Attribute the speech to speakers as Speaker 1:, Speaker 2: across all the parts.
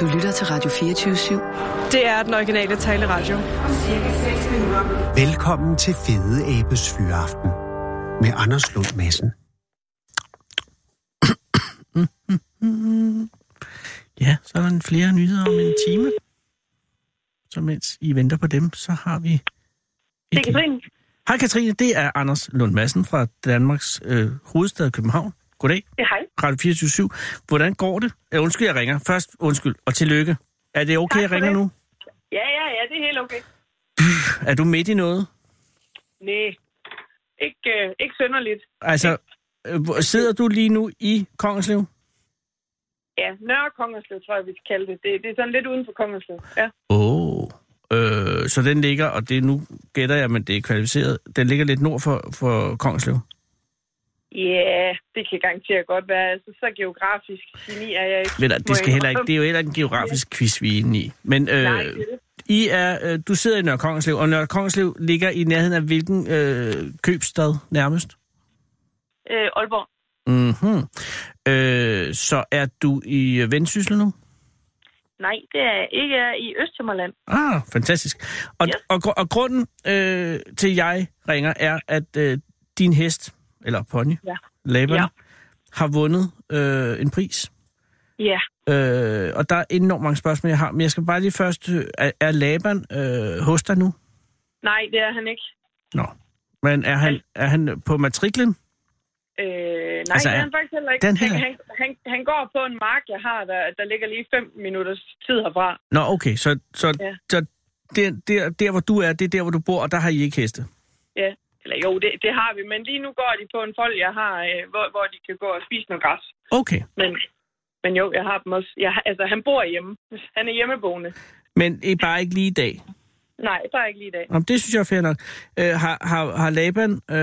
Speaker 1: Du lytter til Radio 24 /7.
Speaker 2: Det er den originale taleradio.
Speaker 3: Velkommen til Fede Abes Fyraften med Anders Lund Madsen.
Speaker 4: Ja, så er der en flere nyheder om en time. Så mens I venter på dem, så har vi...
Speaker 5: Det er Katrine.
Speaker 4: Hej Katrine, det er Anders Lund Madsen fra Danmarks øh, hovedstad København. Goddag,
Speaker 5: Ja, hej.
Speaker 4: Radio 24 Hvordan går det? Øh, undskyld, jeg ringer. Først undskyld, og tillykke. Er det okay,
Speaker 5: Tak
Speaker 4: jeg
Speaker 5: for
Speaker 4: ringer
Speaker 5: det.
Speaker 4: nu?
Speaker 5: Ja, ja, ja, det er helt okay.
Speaker 4: Er du midt i noget?
Speaker 5: Nej, ikke, øh, ikke synderligt.
Speaker 4: Altså, øh, hvor- sidder du lige nu i Kongeslev?
Speaker 5: Ja, Nørre Kongerslev, tror jeg, vi skal kalde det. det. Det er sådan lidt uden for Kongerslev. Ja.
Speaker 4: Åh. Oh. Øh, så den ligger, og det er nu gætter jeg, men det er kvalificeret. Den ligger lidt nord for, for Kongeslev.
Speaker 5: Ja, det kan garantere godt være. Altså, så geografisk geni er jeg ikke.
Speaker 4: Ved du,
Speaker 5: må
Speaker 4: det, skal
Speaker 5: jeg
Speaker 4: heller ikke,
Speaker 5: indrømme.
Speaker 4: det er jo heller ikke en geografisk quiz, vi er inde i. Men
Speaker 5: Nej,
Speaker 4: øh,
Speaker 5: det er det.
Speaker 4: I er, øh, du sidder i Nørre Kongeslev, og Nørre Kongeslev ligger i nærheden af hvilken øh, købstad nærmest?
Speaker 5: Øh, Aalborg.
Speaker 4: Mm-hmm. Øh, så er du i øh, Vendsyssel nu?
Speaker 5: Nej, det er ikke jeg er i Østtimmerland.
Speaker 4: Ah, fantastisk. Og,
Speaker 5: Ja.
Speaker 4: yes. og, gr- og grunden øh, til, at jeg ringer, er, at øh, din hest, eller pony,
Speaker 5: Ja.
Speaker 4: Laban,
Speaker 5: Ja.
Speaker 4: har vundet øh, en pris.
Speaker 5: Ja,
Speaker 4: Øh, og der er enormt mange spørgsmål, jeg har, men jeg skal bare lige først... Øh, er, er Laban øh, hos dig nu?
Speaker 5: nej, det er han ikke.
Speaker 4: Nå. Men er han, er han på matriklen?
Speaker 5: Øh, nej,
Speaker 4: Altså,
Speaker 5: altså, det er
Speaker 4: er-
Speaker 5: han faktisk heller ikke.
Speaker 4: den
Speaker 5: Han,
Speaker 4: her-
Speaker 5: han, han, han går på en mark, jeg har, der, der ligger lige 5 minutters tid herfra.
Speaker 4: Nå, okay, så, så, ja.
Speaker 5: Ja.
Speaker 4: så der, der, der, hvor du er, det er der, hvor du bor, og der har I ikke heste.
Speaker 5: Ja, eller jo, det, det har vi, men lige nu går de på en fold, jeg har, øh, hvor, hvor de kan gå og spise noget græs.
Speaker 4: Okay,
Speaker 5: Men, men jo, jeg har dem også. Jeg, har- altså, han bor hjemme. Han er hjemmeboende.
Speaker 4: men I bare ikke lige i dag.
Speaker 5: Nej, bare ikke lige i dag.
Speaker 4: Om det synes jeg er fair nok. Øh, har, har, har Laban... Øh,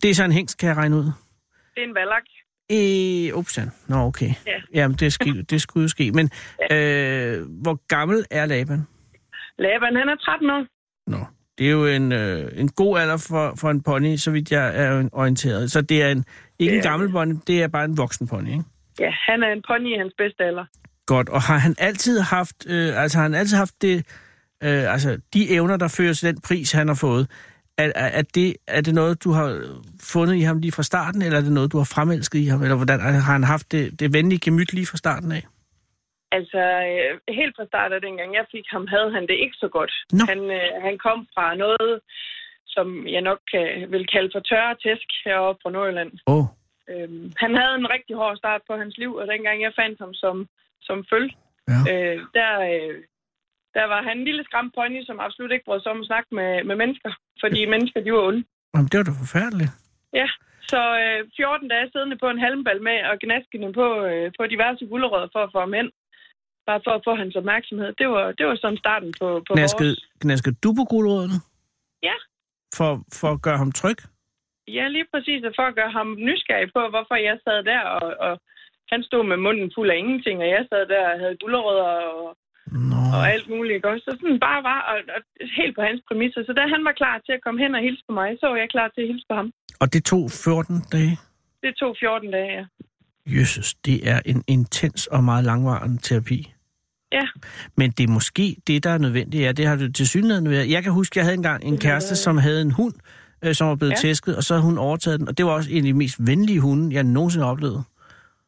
Speaker 4: det er så en hængst, kan jeg regne ud.
Speaker 5: Det er en valak.
Speaker 4: Øh, upsan. Nå, okay.
Speaker 5: Ja.
Speaker 4: Jamen, det, ske, det skulle jo ske. Men øh, hvor gammel er Laban?
Speaker 5: Laban, han er 13 år.
Speaker 4: Nå, det er jo en, øh, en god alder for, for en pony, så vidt jeg er orienteret. Så det er en, ikke en
Speaker 5: Det er
Speaker 4: gammel pony, det er bare en voksen pony, ikke?
Speaker 5: Ja, han er en pony i hans bedste alder.
Speaker 4: Godt, og har han altid haft, øh, altså har han altid haft det, øh, altså de evner, der fører til den pris, han har fået, er, er, er, det, er det noget, du har fundet i ham lige fra starten, eller er det noget, du har fremelsket i ham, eller hvordan altså, har han haft det, det venlige gemyt lige fra starten af?
Speaker 5: Altså, øh, helt fra start af dengang jeg fik ham, havde han det ikke så godt.
Speaker 4: Nå.
Speaker 5: Han, øh, han kom fra noget, som jeg nok øh, vil kalde for tørre tæsk heroppe fra Nordjylland.
Speaker 4: Åh, oh,
Speaker 5: Øhm, han havde en rigtig hård start på hans liv, og dengang jeg fandt ham som, som føl,
Speaker 4: Ja.
Speaker 5: øh, der, øh, der var han en lille skræmt pony, som absolut ikke brød sig om at snakke med, med mennesker, fordi mennesker, de var onde.
Speaker 4: jamen, det var da forfærdeligt.
Speaker 5: Ja, så øh, 14 dage siddende på en halmbal med og gnaskende på, øh, på diverse gulerødder for at få ham hen, bare for at få hans opmærksomhed. Det var, det var sådan starten på, på
Speaker 4: Gnaskede,
Speaker 5: vores...
Speaker 4: gnaskede du på guldrådene?
Speaker 5: Ja.
Speaker 4: For, for at gøre ham tryg?
Speaker 5: Ja, lige præcis, og for at gøre ham nysgerrig på, hvorfor jeg sad der, og, og han stod med munden fuld af ingenting, og jeg sad der og havde gulerødder og
Speaker 4: Nå,
Speaker 5: og alt muligt. Ikke? også? Så sådan bare var og, og helt på hans præmisser. Så da han var klar til at komme hen og hilse på mig, så var jeg klar til at hilse på ham.
Speaker 4: og det tog 14 dage?
Speaker 5: Det tog 14 dage, ja.
Speaker 4: Jesus, det er en intens og meget langvarende terapi.
Speaker 5: Ja.
Speaker 4: Men det er måske det, der er nødvendigt. Ja, det har det til synligheden været. Jeg kan huske, jeg havde engang en kæreste, som havde en hund, øh, som var blevet ja.
Speaker 5: Ja.
Speaker 4: tæsket, og så havde hun overtaget den. Og det var også en af de mest venlige hunde, jeg nogensinde oplevede.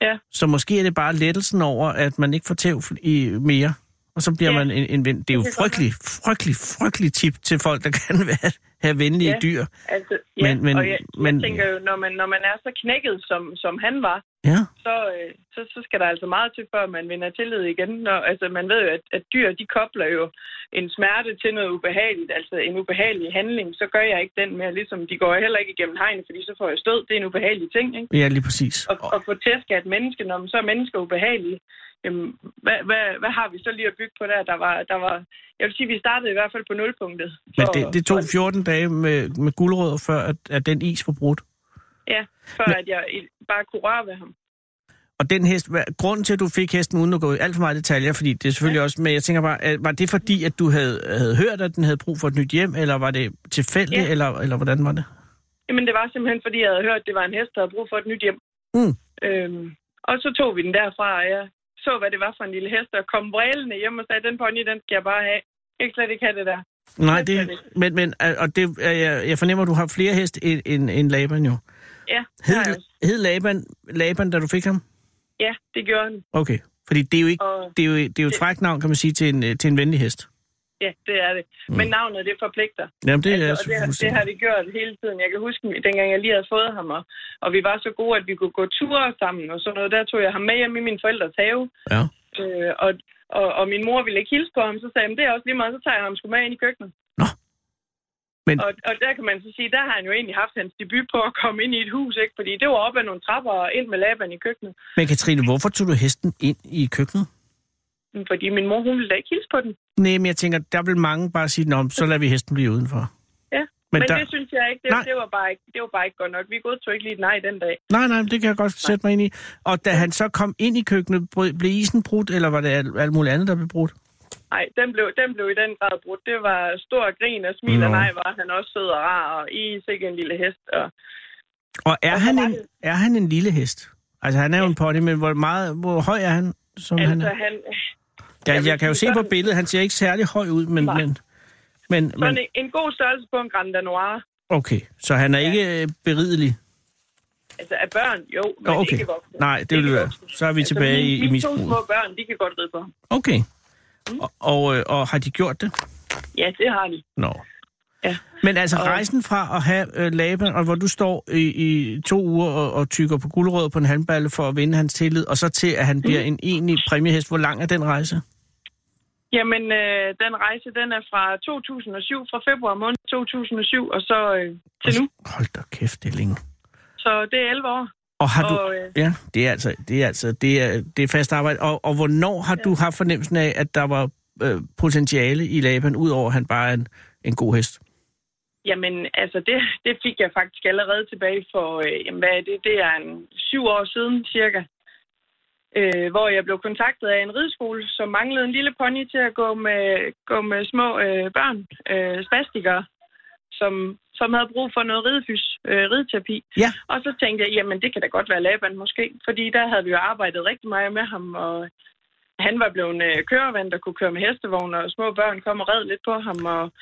Speaker 5: Ja.
Speaker 4: Så måske er det bare lettelsen over, at man ikke får tæv i mere. Og så bliver ja.
Speaker 5: Ja.
Speaker 4: man en, en ven. Det er jo
Speaker 5: Det kan godt
Speaker 4: frygtelig, frygtelig, frygtelig tip til folk, der kan være, have venlige
Speaker 5: Ja.
Speaker 4: dyr.
Speaker 5: Altså, ja.
Speaker 4: Men- men-
Speaker 5: og jeg, jeg
Speaker 4: men-
Speaker 5: tænker jo, når man, når man er så knækket, som, som han var,
Speaker 4: Ja.
Speaker 5: så, øh, så, så skal der altså meget til, før man vinder tillid igen. Når, altså, man ved jo, at, at dyr, de kobler jo en smerte til noget ubehageligt. Altså, en ubehagelig handling, så gør jeg ikke den mere. Ligesom, de går heller ikke igennem hegnet, fordi så får jeg stød. Det er en ubehagelig ting, ikke?
Speaker 4: Ja, lige præcis.
Speaker 5: og, og få tæsk af et menneske, når man så er mennesker ubehagelige, jamen, hvad, hvad, hvad har vi så lige at bygge på der? Der var, der var, jeg vil sige, vi startede i hvert fald på nulpunktet.
Speaker 4: Men
Speaker 5: For-
Speaker 4: det, det tog
Speaker 5: for-
Speaker 4: 14 dage med, med guldrødder, før at, at den is var brudt.
Speaker 5: Ja, for
Speaker 4: Men-
Speaker 5: at jeg i- bare kunne røre ved ham.
Speaker 4: Og den hest, hvad, grunden til, at du fik hesten uden at gå i alt for meget detaljer, fordi det er selvfølgelig ja. også, men jeg tænker bare, at- var det fordi, at du havde, havde hørt, at den havde brug for et nyt hjem, eller var det tilfældigt, ja.
Speaker 5: Ja.
Speaker 4: eller, eller hvordan var det?
Speaker 5: Jamen, det var simpelthen, fordi jeg havde hørt, at det var en hest, der havde brug for et nyt hjem.
Speaker 4: Mm.
Speaker 5: Øhm, og så tog vi den derfra, og jeg så, hvad det var for en lille hest, og kom vrælende hjem og sagde, den pony, den skal jeg bare have. Jeg kan slet ikke have det der.
Speaker 4: Nej,
Speaker 5: Det er
Speaker 4: det,
Speaker 5: slet
Speaker 4: men, men øh, og det, er jeg, jeg fornemmer, at du har flere heste end, end, end Laban jo.
Speaker 5: Ja, det har jeg
Speaker 4: Hed,
Speaker 5: også.
Speaker 4: hed Laban, Laban, da du fik ham?
Speaker 5: ja det gjorde den.
Speaker 4: Okay. Fordi det er jo, ikke,
Speaker 5: Og
Speaker 4: det er jo, det er jo et frækt navn, kan man sige, til en, øh, til en venlig hest.
Speaker 5: ja, det er det. Men
Speaker 4: Mm.
Speaker 5: navnet, det forpligter.
Speaker 4: Jamen, det er
Speaker 5: altså, og det, har- det
Speaker 4: fuldstændig-
Speaker 5: har det gjort hele tiden. Jeg kan huske, dengang jeg lige havde fået ham, og, og vi var så gode, at vi kunne gå ture sammen og sådan noget. Der tog jeg ham med hjem i min forældres have,
Speaker 4: Ja.
Speaker 5: øh, og, og, og min mor ville ikke hilse på ham, så sagde jeg, "Men det er også lige meget, så tager jeg ham sgu med ind i køkkenet.
Speaker 4: Nå. Men-
Speaker 5: Og, og der kan man så sige, der har han jo egentlig haft hans debut på at komme ind i et hus, ikke? fordi det var op ad nogle trapper og ind med laban i køkkenet.
Speaker 4: Men Katrine, hvorfor tog du hesten ind i køkkenet?
Speaker 5: Men Fordi min mor, hun ville da ikke hilse på den.
Speaker 4: Nej, men jeg tænker, der vil mange bare sige, Nå, så lader vi hesten blive udenfor.
Speaker 5: Ja.
Speaker 4: Men,
Speaker 5: Men,
Speaker 4: men der,
Speaker 5: det synes jeg ikke det,
Speaker 4: Nej.
Speaker 5: det, var bare ikke, det var bare ikke godt nok. Vi godtog ikke lige et nej den dag.
Speaker 4: Nej, nej, men det kan jeg godt sætte mig ind i. Og da han så kom ind i køkkenet, brød- blev isen brudt, eller var det alt, alt muligt andet, der blev brudt?
Speaker 5: Nej, den blev, den blev i den grad brudt. Det var stor grin og smil,
Speaker 4: Nå.
Speaker 5: Nå. og nej, var han også sød og rar, og is ikke en lille hest. Og...
Speaker 4: Og er,
Speaker 5: Og så
Speaker 4: han
Speaker 5: var
Speaker 4: en,
Speaker 5: det-
Speaker 4: er han en lille hest? Altså, han er jo en pony, men hvor, meget, hvor høj er han? Som han
Speaker 5: Altså,
Speaker 4: er?
Speaker 5: han,
Speaker 4: Ja,
Speaker 5: jeg vil
Speaker 4: jeg kan jo se
Speaker 5: sige,
Speaker 4: på
Speaker 5: sådan-
Speaker 4: billedet, han ser ikke særlig høj ud, men...
Speaker 5: Nej.
Speaker 4: men men,
Speaker 5: sådan
Speaker 4: men
Speaker 5: en, en god størrelse på en Grand Danois.
Speaker 4: okay, så han er
Speaker 5: Ja.
Speaker 4: ikke øh, beridelig?
Speaker 5: Altså, af børn, jo, men
Speaker 4: Nå, okay.
Speaker 5: ikke voksne.
Speaker 4: Nej, det vil
Speaker 5: Ikke
Speaker 4: være.
Speaker 5: voksne.
Speaker 4: Så er vi tilbage
Speaker 5: mine,
Speaker 4: i, i
Speaker 5: Altså, mine to små Mm.
Speaker 4: misbruget.
Speaker 5: børn, de kan godt ride på ham.
Speaker 4: Okay. Og, og, øh, og har de gjort det?
Speaker 5: Ja, det har de.
Speaker 4: Nå.
Speaker 5: Ja.
Speaker 4: Men altså
Speaker 5: Og-
Speaker 4: rejsen fra at have øh, Laban, og hvor du står i, i to uger og, og tykker på guldrød på en handballe for at vinde hans tillid, og så til, at han bliver
Speaker 5: Mm.
Speaker 4: en egentlig præmiehest. Hvor lang er den rejse?
Speaker 5: Jamen, øh, den rejse, den er fra 2007, fra februar måned 2007, og så øh, til nu.
Speaker 4: Altså, Hold da kæft, det er længe.
Speaker 5: Så det er 11 år.
Speaker 4: Og har du...
Speaker 5: Og, øh,
Speaker 4: Ja, det er altså, det er, altså, det er, det er fast arbejde. Og, og hvornår har du haft fornemmelsen af, at der var øh, potentiale i Laban, udover at han bare er en, en god hest?
Speaker 5: Jamen, altså det, det fik jeg faktisk allerede tilbage for, øh, jamen, hvad er det, det er en syv år siden cirka, øh, hvor jeg blev kontaktet af en rideskole, som manglede en lille pony til at gå med, gå med små øh, børn, øh, spastikere, som, som havde brug for noget ridefys, øh, rideterapi.
Speaker 4: Ja.
Speaker 5: Og så tænkte jeg, jamen det kan da godt være Laban måske, fordi der havde vi jo arbejdet rigtig meget med ham, og han var blevet øh, kørevand, der kunne køre med hestevogn, og små børn kom og red lidt på ham, og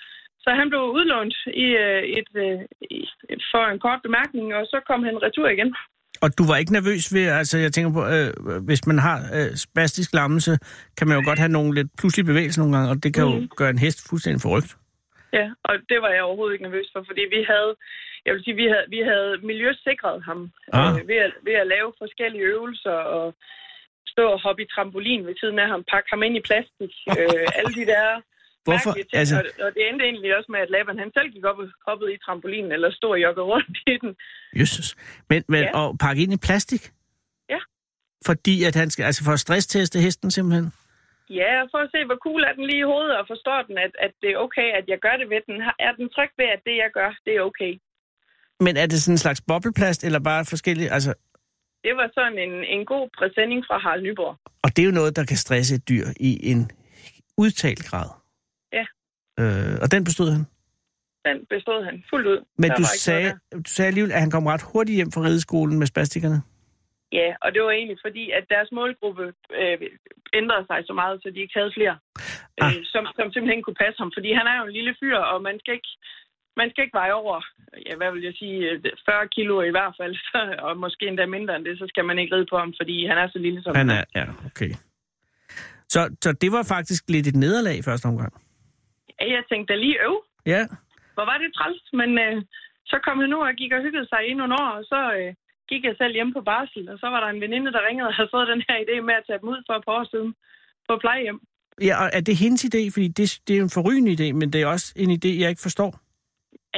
Speaker 5: så han blev udlånt i, øh, et, øh, i- for en kort bemærkning, og så kom han retur igen.
Speaker 4: Og du var ikke nervøs ved, altså jeg tænker på, øh, hvis man har øh, spastisk lammelse, kan man jo godt have nogle lidt pludselige bevægelser nogle gange, og det kan jo
Speaker 5: Mhm.
Speaker 4: gøre en hest fuldstændig forrygt.
Speaker 5: Ja, og det var jeg overhovedet ikke nervøs for, fordi vi havde, jeg vil sige, vi havde, vi havde miljøsikret ham
Speaker 4: Ah.
Speaker 5: øh, ved, at, ved at lave forskellige øvelser og stå og hoppe i trampolin ved siden af ham, pakke ham ind i plastik, øh, alle de der
Speaker 4: Hvorfor?
Speaker 5: mærkelige ting.
Speaker 4: Altså-
Speaker 5: Altså... Og, og det endte egentlig også med, at Laban han selv gik op og hoppede i trampolinen, eller stod og joggede rundt i den.
Speaker 4: Jesus. Men, men ja.
Speaker 5: Ja.
Speaker 4: og pakke ind i plastik?
Speaker 5: Ja.
Speaker 4: Fordi at han skal, altså for at stressteste hesten simpelthen?
Speaker 5: Ja, for at se, hvor cool er den lige i hovedet, og forstår den, at, at det er okay, at jeg gør det ved den. Har- Er den tryg ved, at det, jeg gør, det er okay?
Speaker 4: Men er det sådan en slags bobleplast, eller bare forskellige, altså,
Speaker 5: Det var sådan en, en god præsending fra Harald Nyborg.
Speaker 4: og det er jo noget, der kan stresse et dyr i en udtalt grad.
Speaker 5: Ja.
Speaker 4: Øh, og den bestod han?
Speaker 5: Den bestod han fuldt ud.
Speaker 4: Men
Speaker 5: Der
Speaker 4: du
Speaker 5: var ikke noget
Speaker 4: sagde,
Speaker 5: der.
Speaker 4: du sagde alligevel, at han kom ret hurtigt hjem fra rideskolen med spastikerne?
Speaker 5: Ja, og det var egentlig fordi, at deres målgruppe øh, ændrede sig så meget, så de ikke havde flere,
Speaker 4: Ah.
Speaker 5: øh, som, som simpelthen kunne passe ham. Fordi han er jo en lille fyr, og man skal ikke, man skal ikke veje over, ja, hvad vil jeg sige, øh, 40 kilo i hvert fald, så- og måske endda mindre end det, så skal man ikke ride på ham, fordi han er så lille som
Speaker 4: Han er, ja, okay. Så, så det var faktisk lidt et nederlag i første omgang.
Speaker 5: Ja, Jeg tænkte da lige, øv,
Speaker 4: Ja,
Speaker 5: hvor var det træls, men øh, så kom han nu og gik og hyggede sig i nogle år, og så øh, gik jeg selv hjem på barsel, og så var der en veninde, der ringede og havde fået den her idé med at tage dem ud for et par år siden på plejehjem.
Speaker 4: ja og er det hendes idé? Fordi det, det er jo en forrygende idé, men det er også en idé, jeg ikke forstår.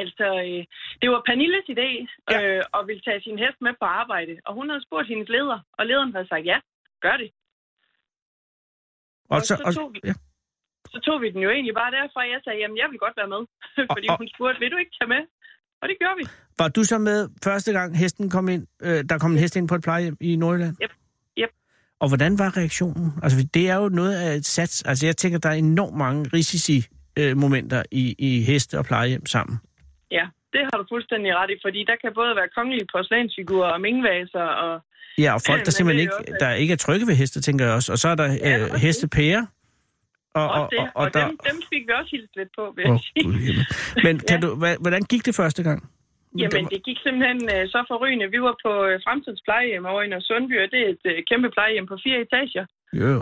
Speaker 5: Altså, øh, det var Pernilles idé
Speaker 4: Ja.
Speaker 5: øh, og ville tage sin hest med på arbejde, og hun havde spurgt hendes leder, og lederen havde sagt, ja, gør det. Og så tog vi-
Speaker 4: ja.
Speaker 5: Så tog vi den jo egentlig bare derfra, og jeg sagde, jamen jeg vil godt være med, fordi
Speaker 4: Og- og-
Speaker 5: hun spurgte, vil du ikke tage med? Og det gjorde vi.
Speaker 4: Var du så med første gang hesten kom ind, øh, der kom en hest ind på et plejehjem i Nordjylland?
Speaker 5: Yep, yep.
Speaker 4: Og hvordan var reaktionen? Altså, det er jo noget af et sats. Altså, jeg tænker, der er enormt mange risici øh, momenter i, i heste og plejehjem sammen.
Speaker 5: Ja, det har du fuldstændig ret i, fordi der kan både være kongelige porcelænsfigurer og mingvaser og...
Speaker 4: Ja, og folk,
Speaker 5: Men
Speaker 4: der
Speaker 5: det
Speaker 4: simpelthen
Speaker 5: er
Speaker 4: ikke,
Speaker 5: jo også-
Speaker 4: der ikke er trygge ved heste, tænker jeg også. Og så er der
Speaker 5: Ja,
Speaker 4: øh,
Speaker 5: og det.
Speaker 4: hestepærer. Og,
Speaker 5: Og, det, og, og
Speaker 4: der...
Speaker 5: dem, dem fik vi også hilst lidt på, vil jeg
Speaker 4: Åh,
Speaker 5: oh, sige.
Speaker 4: Gud i himmel. Men kan du, hva- hvordan gik det første gang?
Speaker 5: Jamen, det gik simpelthen øh, så forrygende. Vi var på øh, Fremtidens Plejehjem over i Sundby, og det er et øh, kæmpe plejehjem på fire etager.
Speaker 4: Jo.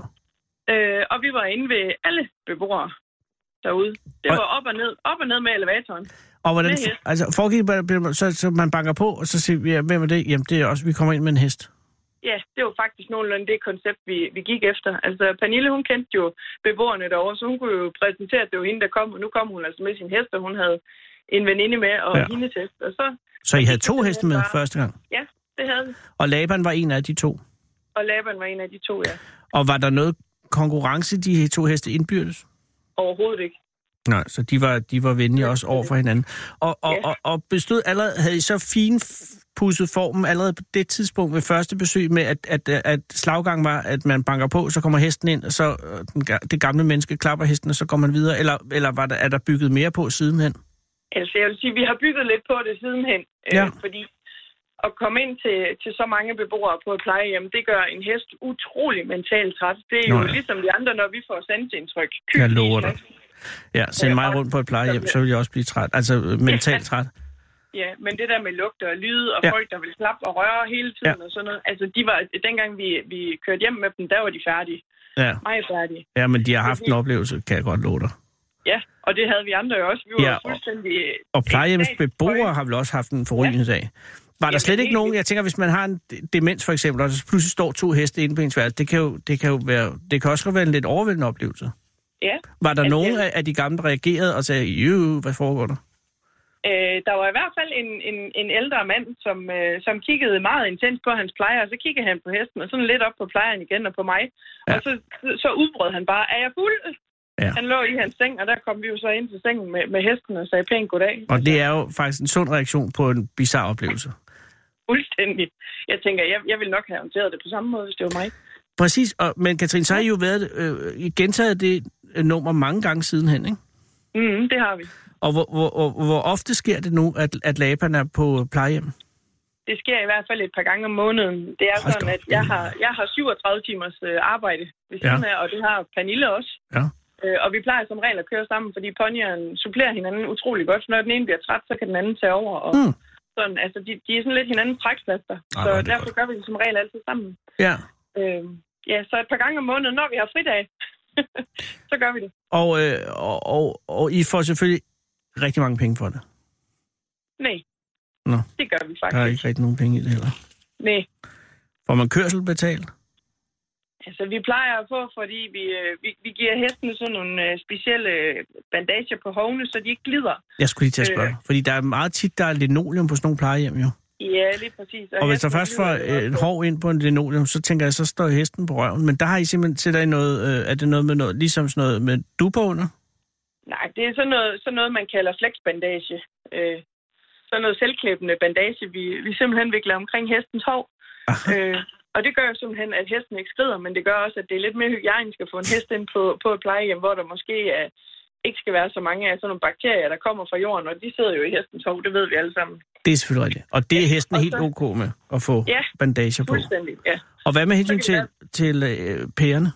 Speaker 5: Øh, og vi var inde ved alle beboere derude. Det
Speaker 4: Og-
Speaker 5: var op og ned, op og ned med elevatoren.
Speaker 4: Og hvordan,
Speaker 5: Med hest.
Speaker 4: altså foregik det, bare- bare- så, så man banker på, og så siger vi, ja, hvem er det? Jamen, det er også, vi kommer ind med en hest.
Speaker 5: Ja, det var faktisk nogenlunde det koncept, vi, vi gik efter. Altså, Pernille, hun kendte jo beboerne derovre, så hun kunne jo præsentere, at det var hende, der kom. Og nu kom hun altså med sin hest, og hun havde en veninde med og
Speaker 4: Ja.
Speaker 5: ja. hendes hest. Og så,
Speaker 4: Så I havde to
Speaker 5: simpelthen
Speaker 4: heste med
Speaker 5: bare-
Speaker 4: første gang.
Speaker 5: ja, det havde vi.
Speaker 4: Og Laban var en af de to.
Speaker 5: Og Laban var en af de to, ja.
Speaker 4: Og var der noget konkurrence, de to heste indbyrdes?
Speaker 5: Overhovedet ikke.
Speaker 4: Nej, så de var, de var venlige også over for hinanden. Og, og,
Speaker 5: Ja.
Speaker 4: og, og bestod allerede, havde I så finpudset formen allerede på det tidspunkt ved første besøg med, at, at, at slaggang var, at man banker på, så kommer hesten ind, og så øh, den, ga- det gamle menneske klapper hesten, og så går man videre? Eller, eller var der, er der bygget mere på sidenhen?
Speaker 5: Altså, jeg vil sige, vi har bygget lidt på det sidenhen,
Speaker 4: Ja.
Speaker 5: øh, fordi at komme ind til, til så mange beboere på et plejehjem, det gør en hest utrolig mentalt træt. Det er
Speaker 4: Nå
Speaker 5: jo
Speaker 4: ja.
Speaker 5: ligesom de andre, når vi får sandsindtryk.
Speaker 4: Jeg lover dig. Ja, send
Speaker 5: Ja,
Speaker 4: mig
Speaker 5: og-
Speaker 4: rundt på et plejehjem, så vil jeg også blive træt. Altså øh, mentalt træt.
Speaker 5: Ja, men det der med lugter og lyde, og
Speaker 4: Ja.
Speaker 5: ja. folk, der vil klappe og røre hele tiden ja. og sådan noget. Altså, de var, dengang vi, vi kørte hjem med dem, der var de færdige.
Speaker 4: Ja.
Speaker 5: Meget færdige.
Speaker 4: ja, men de har haft en oplevelse, kan jeg godt love dig.
Speaker 5: Ja, og det havde vi andre jo også. Vi var
Speaker 4: Ja,
Speaker 5: ja,
Speaker 4: og-
Speaker 5: fuldstændig...
Speaker 4: Og plejehjemsbeboere har vel også haft en forrygende dag. Var der
Speaker 5: Jamen,
Speaker 4: slet ikke
Speaker 5: helt
Speaker 4: nogen,
Speaker 5: vildt.
Speaker 4: jeg tænker, hvis man har en de- demens for eksempel, og så pludselig står to heste inde på ens værelse, det kan jo, det kan jo være, det kan også godt være en lidt overvældende oplevelse.
Speaker 5: Ja,
Speaker 4: Var der
Speaker 5: Altså,
Speaker 4: nogen
Speaker 5: jeg-
Speaker 4: af, af de gamle, der reagerede og sagde, jo, hvad foregår der?
Speaker 5: Øh, der var i hvert fald en, en, en ældre mand, som, øh, som kiggede meget intens på hans plejer, og så kiggede han på hesten, og sådan lidt op på plejeren igen og på mig.
Speaker 4: Ja.
Speaker 5: Ja. Og så, så udbrød han bare, er jeg fuld?
Speaker 4: Ja.
Speaker 5: Ja. Han lå i hans seng, og der kom vi jo så ind til sengen med, med hesten og sagde pænt goddag.
Speaker 4: Og det er jo faktisk en sund reaktion på en bizarre oplevelse.
Speaker 5: Fuldstændig. Jeg tænker, jeg, jeg ville nok have håndteret det på samme måde, hvis det var mig.
Speaker 4: Præcis, og, men Katrine, så har I jo været, øh, I gentaget det øh, nummer mange gange sidenhen, ikke?
Speaker 5: Mm, det har vi.
Speaker 4: Og hvor, hvor, hvor, hvor ofte sker det nu, at, at Laban er på plejehjem?
Speaker 5: Det sker i hvert fald et par gange om måneden. Det er
Speaker 4: Hold
Speaker 5: sådan,
Speaker 4: da op.
Speaker 5: at jeg har, jeg har 37 timers øh, arbejde ved siden
Speaker 4: Ja.
Speaker 5: ja. af, og det har Pernille også.
Speaker 4: Ja.
Speaker 5: Øh, og vi plejer som regel at køre sammen, fordi ponyerne supplerer hinanden utrolig godt. Når den ene bliver træt, så kan den anden tage over. Og
Speaker 4: Mm.
Speaker 5: mm. sådan, altså, de, de er sådan lidt hinandens trækplaster.
Speaker 4: Ej,
Speaker 5: så
Speaker 4: hvor er det
Speaker 5: derfor gør vi det som regel altid sammen.
Speaker 4: Ja.
Speaker 5: Øh, ja, så et par gange om måneden, når vi har fridag, så gør vi det.
Speaker 4: Og, øh, og, og, og I får selvfølgelig rigtig mange penge for det.
Speaker 5: Nej.
Speaker 4: Nå.
Speaker 5: Det gør vi
Speaker 4: Der er
Speaker 5: faktisk.
Speaker 4: ikke rigtig nogen penge i det heller.
Speaker 5: Nej.
Speaker 4: Får man kørsel betalt?
Speaker 5: Altså, vi plejer at få, fordi vi, øh, vi, vi giver hestene sådan nogle øh, specielle øh, bandager på hovene, så de ikke glider.
Speaker 4: Jeg skulle lige til at spørge.
Speaker 5: Øh.
Speaker 4: Fordi der er meget tit, der er linoleum på sådan nogle plejehjem jo.
Speaker 5: Ja, øh, lige præcis.
Speaker 4: Og hvis der
Speaker 5: hestene
Speaker 4: først
Speaker 5: glider
Speaker 4: får
Speaker 5: jo også.
Speaker 4: øh, et hår ind på en linoleum, så tænker jeg, så står hesten på røven. Men der har I simpelthen sætter I noget, øh, er det noget med noget, ligesom sådan noget med duper under?
Speaker 5: Nej, det er sådan noget, sådan noget man kalder flexbandage. Øh, sådan noget selvklæbende bandage, vi, vi simpelthen vikler omkring hestens hår.
Speaker 4: Aha.
Speaker 5: Øh, og det gør jo simpelthen, at hesten ikke skrider, men det gør også, at det er lidt mere hygiejnisk at få en hest ind på, på et plejehjem, hvor der måske er, ikke skal være så mange af sådan nogle bakterier, der kommer fra jorden, og de sidder jo i hestens hår, det ved vi alle sammen.
Speaker 4: Det er selvfølgelig rigtigt. Og det er hesten
Speaker 5: og
Speaker 4: helt
Speaker 5: så-
Speaker 4: ok med at få
Speaker 5: Ja,
Speaker 4: bandager på.
Speaker 5: Fuldstændig, ja.
Speaker 4: Og hvad med hensyn
Speaker 5: Så kan
Speaker 4: til, til øh, pærerne?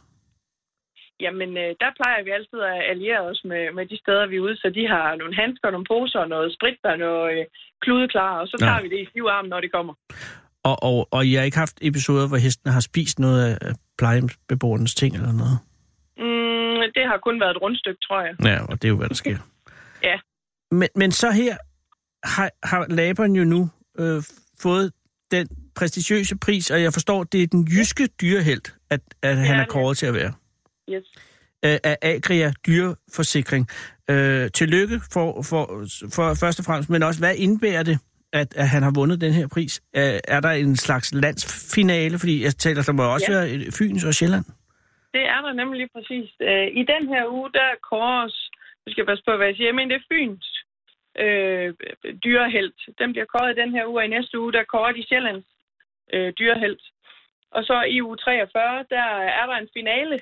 Speaker 5: Jamen, øh, der plejer vi altid at alliere os med, med de steder, vi er ude, så de har nogle handsker, nogle poser, noget sprit og noget øh, kludeklar, og så
Speaker 4: Nå.
Speaker 5: tager vi det i stivarm, når det kommer.
Speaker 4: Og, og, og I har ikke haft episoder, hvor hesten har spist noget af- af plejehjemsbeboernes ting eller noget?
Speaker 5: Mm, det har kun været et rundstykke, tror jeg.
Speaker 4: Ja, og det er jo, hvad der sker.
Speaker 5: Ja.
Speaker 4: Men, men så her har, har Laban jo nu øh, fået den prestigiøse pris, og jeg forstår, det er den jyske dyrehelt, at, at han er
Speaker 5: det.
Speaker 4: kåret til at være.
Speaker 5: Yes.
Speaker 4: øh, af Agria Dyreforsikring. Øh, tillykke for, for, for først og fremmest, men også hvad indbærer det, at, at han har vundet den her pris? Øh, er der en slags landsfinale? Fordi jeg taler, der må også ja.
Speaker 5: Ja.
Speaker 4: være øh, Fyns og Sjælland.
Speaker 5: Det er der nemlig lige præcis. Øh, I den her uge, der kåres, nu skal jeg passe på, hvad jeg siger, jeg mener, det er Fyns øh, dyrehelt. Den bliver kåret i den her uge, og i næste uge, der kårer de Sjællands øh, dyrehelt. Og så i uge 43, der er der en finale,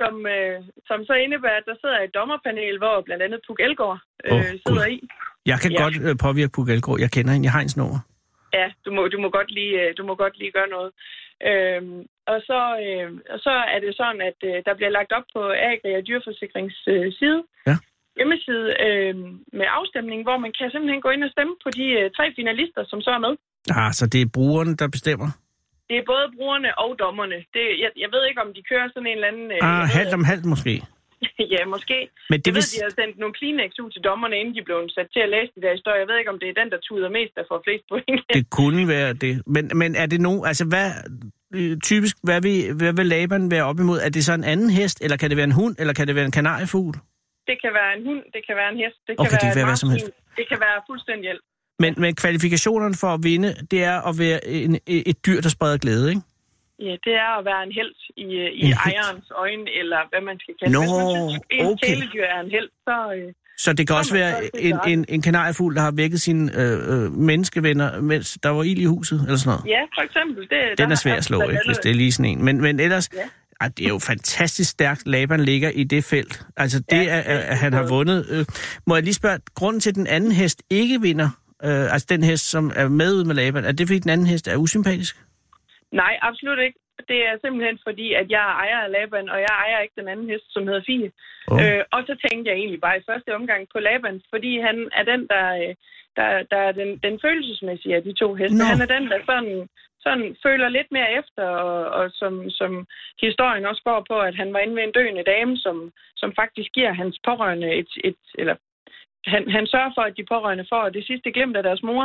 Speaker 5: som, øh, som så indebærer, at der sidder et dommerpanel, hvor blandt andet Puk Elgård øh,
Speaker 4: Åh,
Speaker 5: oh,
Speaker 4: Gud.
Speaker 5: sidder i.
Speaker 4: Jeg kan ja.
Speaker 5: Ja.
Speaker 4: godt øh, påvirke Puk Elgård. Jeg kender hende. Jeg har hendes nummer.
Speaker 5: Ja, du må, du må, godt, lige, øh, du må godt lige gøre noget. Øhm, og, så, øh, og så er det sådan, at øh, der bliver lagt op på Agri og Dyrforsikrings øh, side,
Speaker 4: Ja.
Speaker 5: hjemmeside, øh, med afstemning, hvor man kan simpelthen gå ind og stemme på de øh, tre finalister, som så er med.
Speaker 4: Ah, så det er brugeren, der bestemmer.
Speaker 5: Det er både brugerne og dommerne. Det, jeg, jeg ved ikke, om de kører sådan en eller anden... øh, jeg
Speaker 4: Ah,
Speaker 5: ved,
Speaker 4: halvt om halvt måske.
Speaker 5: at- Ja, måske.
Speaker 4: Men det
Speaker 5: Jeg
Speaker 4: vil...
Speaker 5: ved, de altså har sendt nogle Kleenex ud til dommerne, inden de blev sat til at læse de der historier. Jeg ved ikke, om det er den, der tuder mest, der får flest point.
Speaker 4: Det kunne være det. Men, men er det nogen... Altså, hvad... øh, Typisk, hvad vil, hvad vil laberen være op imod? Er det så en anden hest, eller kan det være en hund, eller kan det være en kanariefugl?
Speaker 5: Det kan være en hund, det kan være en hest, det kan
Speaker 4: Okay, det
Speaker 5: være
Speaker 4: kan
Speaker 5: et
Speaker 4: være hvad som
Speaker 5: marsvin, det kan være fuldstændig alt.
Speaker 4: Men, men kvalifikationerne for at vinde, det er at være en, øh, et dyr, der spreder glæde, ikke?
Speaker 5: Ja, det er at være en held i, øh, i
Speaker 4: En helt.
Speaker 5: ejerens øjne, eller hvad man skal kalde
Speaker 4: Nå,
Speaker 5: det. Hvis man synes, at en
Speaker 4: okay.
Speaker 5: kæledyr er en held, så... Øh,
Speaker 4: Så det kan
Speaker 5: Nå,
Speaker 4: også
Speaker 5: men
Speaker 4: være
Speaker 5: så er det
Speaker 4: en,
Speaker 5: klart.
Speaker 4: en, en kanariefugl, der har vækket sine øh, øh, menneskevenner, mens der var ild i huset, eller sådan noget.
Speaker 5: ja, for eksempel... Det,
Speaker 4: Den
Speaker 5: der
Speaker 4: er svær at slå,
Speaker 5: blandt
Speaker 4: ikke, hvis
Speaker 5: andet-
Speaker 4: det er lige sådan en. Men, men ellers, ja.
Speaker 5: Ja.
Speaker 4: ej, det er jo fantastisk stærkt, Laban ligger i det felt. Altså det, ja,
Speaker 5: Ja,
Speaker 4: at, at
Speaker 5: rigtig
Speaker 4: han har
Speaker 5: godt.
Speaker 4: vundet. Øh, må jeg lige spørge, grunden til, at den anden hest ikke vinder, øh, altså den hest, som er med ud med Laban, er det fordi, den anden hest er usympatisk?
Speaker 5: Nej, absolut ikke. Det er simpelthen fordi, at jeg er ejer af Laban, og jeg ejer ikke den anden hest, som hedder Fie.
Speaker 4: Åh.
Speaker 5: Oh. Øh, og så tænkte jeg egentlig bare i første omgang på Laban, fordi han er den, der, øh, der, der er den, den følelsesmæssige af de to heste.
Speaker 4: Nå.
Speaker 5: No. Han er den, der sådan, sådan føler lidt mere efter, og, og som, som historien også går på, at han var inde ved en døende dame, som, som faktisk giver hans pårørende et... et eller han, han sørger for, at de pårørende får det sidste glemt af deres mor.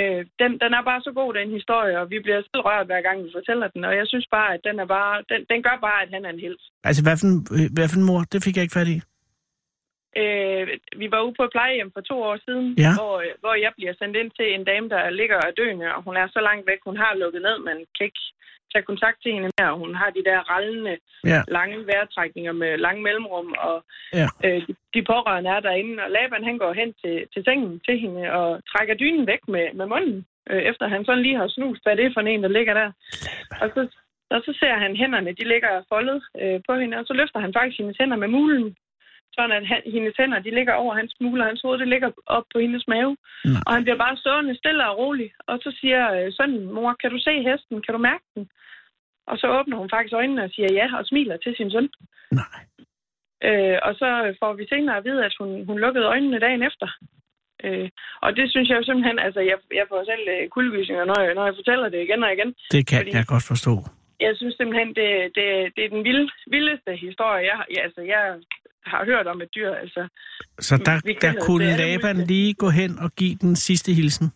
Speaker 5: Øh, den, den er bare så god, den historie, og vi bliver selv rørt, hver gang vi fortæller den. Og jeg synes bare, at den, er bare, den, den gør bare, at han er en helt.
Speaker 4: Altså, hvad for, en, øh, hvad for en mor? Det fik jeg ikke fat i.
Speaker 5: Øh, vi var ude på et plejehjem for to år siden,
Speaker 4: Ja.
Speaker 5: hvor, øh, hvor jeg bliver sendt ind til en dame, der ligger og er døende, og hun er så langt væk, hun har lukket ned, man kan ikke tage kontakt til hende mere. Hun har de der rallende,
Speaker 4: Ja.
Speaker 5: lange vejrtrækninger med lange mellemrum, og
Speaker 4: Ja.
Speaker 5: øh, de- de pårørende er derinde, og Laban han går hen til, til sengen til hende og trækker dynen væk med, med munden, øh, efter han sådan lige har snust, hvad det er for en, der ligger der. Og så, og så ser han hænderne, de ligger foldet øh, på hende, og så løfter han faktisk hendes hænder med mulen, sådan at han, hendes hænder, de ligger over hans mule, og hans hoved, det ligger op på hendes mave.
Speaker 4: Nej.
Speaker 5: Og han bliver bare stående stille og rolig, og så siger øh, sønnen, mor, kan du se hesten? Kan du mærke den? Og så åbner hun faktisk øjnene og siger ja, og smiler til sin søn.
Speaker 4: Nej.
Speaker 5: Øh, og så får vi senere at vide, at hun, hun lukkede øjnene dagen efter. Øh, og det synes jeg jo simpelthen, altså jeg, jeg får selv øh, kuldegysninger, når jeg, når jeg fortæller det igen og igen.
Speaker 4: Det kan Fordi...
Speaker 5: Fordi-
Speaker 4: jeg godt forstå.
Speaker 5: Jeg synes simpelthen, det, det, det er den vilde, vildeste historie, jeg, har- ja, altså, jeg har hørt om et dyr. Altså,
Speaker 4: Så der,
Speaker 5: Vi kender
Speaker 4: der
Speaker 5: det.
Speaker 4: kunne
Speaker 5: Det er det
Speaker 4: Laban
Speaker 5: muligste.
Speaker 4: lige gå hen og give den sidste hilsen.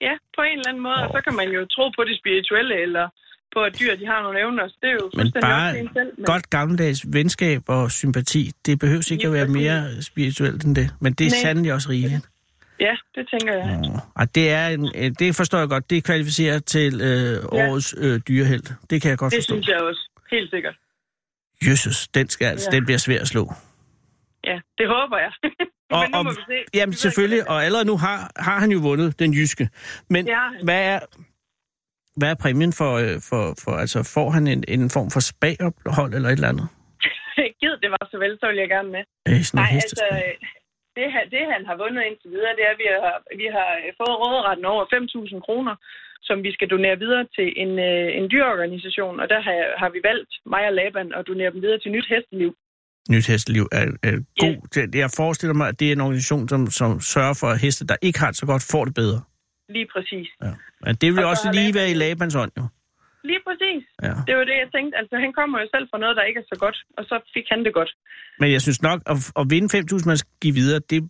Speaker 5: ja, på en eller anden måde, og så kan man jo tro på det spirituelle, eller på, at dyr de har nogle evner. Så det er jo
Speaker 4: Men
Speaker 5: fuldstændig op til
Speaker 4: bare
Speaker 5: en selv. Men
Speaker 4: godt gammeldags venskab og sympati, det behøves ikke at være mere spirituelt end det. Men det er
Speaker 5: Nej.
Speaker 4: sandelig også rigeligt.
Speaker 5: Ja, det tænker jeg.
Speaker 4: Nå, Og det, er en, øh, det forstår jeg godt. Det kvalificerer til øh, årets øh, dyreheld. Det kan jeg godt
Speaker 5: Det
Speaker 4: forstå.
Speaker 5: synes jeg også. Helt sikkert.
Speaker 4: Jesus, den, skal, altså,
Speaker 5: Ja.
Speaker 4: den bliver svær at slå.
Speaker 5: Ja, det håber jeg.
Speaker 4: Og-
Speaker 5: Men nu må
Speaker 4: og-
Speaker 5: vi se. Vi
Speaker 4: Jamen
Speaker 5: ved
Speaker 4: selvfølgelig,
Speaker 5: ikke,
Speaker 4: og allerede nu har, har han jo vundet den jyske. Men
Speaker 5: Det har han.
Speaker 4: hvad er, hvad er præmien for, øh, for, for altså får han en, en form for spagophold eller et eller andet?
Speaker 5: hvordan- Gid det var så vel, så vil jeg gerne med.
Speaker 4: Øh, sådan
Speaker 5: Nej,
Speaker 4: noget
Speaker 5: altså,
Speaker 4: hestespag.
Speaker 5: det, han- det han har vundet indtil videre, det er, at vi har, vi har fået råderetten over 5.000 kroner, som vi skal donere videre til en, øh, en dyreorganisation, og der har, har vi valgt, mig og Laban, at donere dem videre til Nyt Hesteliv.
Speaker 4: Nyt Hesteliv er, er god. til- Jeg forestiller mig, at det er en organisation, som, som sørger for, at heste, der ikke har det så godt, får det bedre.
Speaker 5: Lige præcis.
Speaker 4: Ja. Men det vil
Speaker 5: Og så
Speaker 4: også
Speaker 5: har
Speaker 4: lige
Speaker 5: Laban-
Speaker 4: være i Labans ånd, jo.
Speaker 5: Lige præcis.
Speaker 4: Ja.
Speaker 5: Det var det, jeg tænkte. Altså, han kommer jo selv fra noget, der ikke er så godt, og så fik han det godt.
Speaker 4: Men jeg synes nok, at, at vinde 5.000, man skal give videre, det er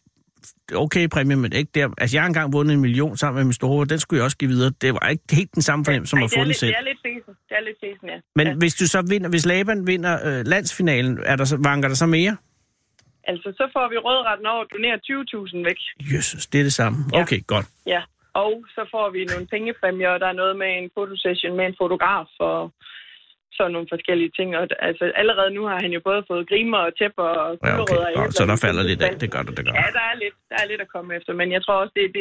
Speaker 4: okay præmie, men ikke der. Altså, jeg har engang vundet en million sammen med min store, den skulle jeg også give videre. Det var ikke helt den samme fornemmelse, som
Speaker 5: Ej,
Speaker 4: at
Speaker 5: det,
Speaker 4: få
Speaker 5: er
Speaker 4: den
Speaker 5: lidt,
Speaker 4: selv.
Speaker 5: det er lidt fesen. Det er lidt fesen, ja.
Speaker 4: Men
Speaker 5: ja.
Speaker 4: hvis du så vinder, hvis Laban vinder øh, landsfinalen, er der så, vanker der så mere?
Speaker 5: Altså, så får vi rådretten over at donere 20.000 væk.
Speaker 4: Jesus, det er det samme.
Speaker 5: Ja.
Speaker 4: Okay, godt.
Speaker 5: Ja, og så får vi nogle pengepræmier, og der er noget med en fotosession med en fotograf og sådan nogle forskellige ting. Og d- altså, allerede nu har han jo både fået grimer og tæpper og
Speaker 4: Ja, okay.
Speaker 5: gulerødder i
Speaker 4: Godt. Så der
Speaker 5: æblerne.
Speaker 4: falder lidt af. Det gør der, det gør
Speaker 5: Ja, der er, lidt, der er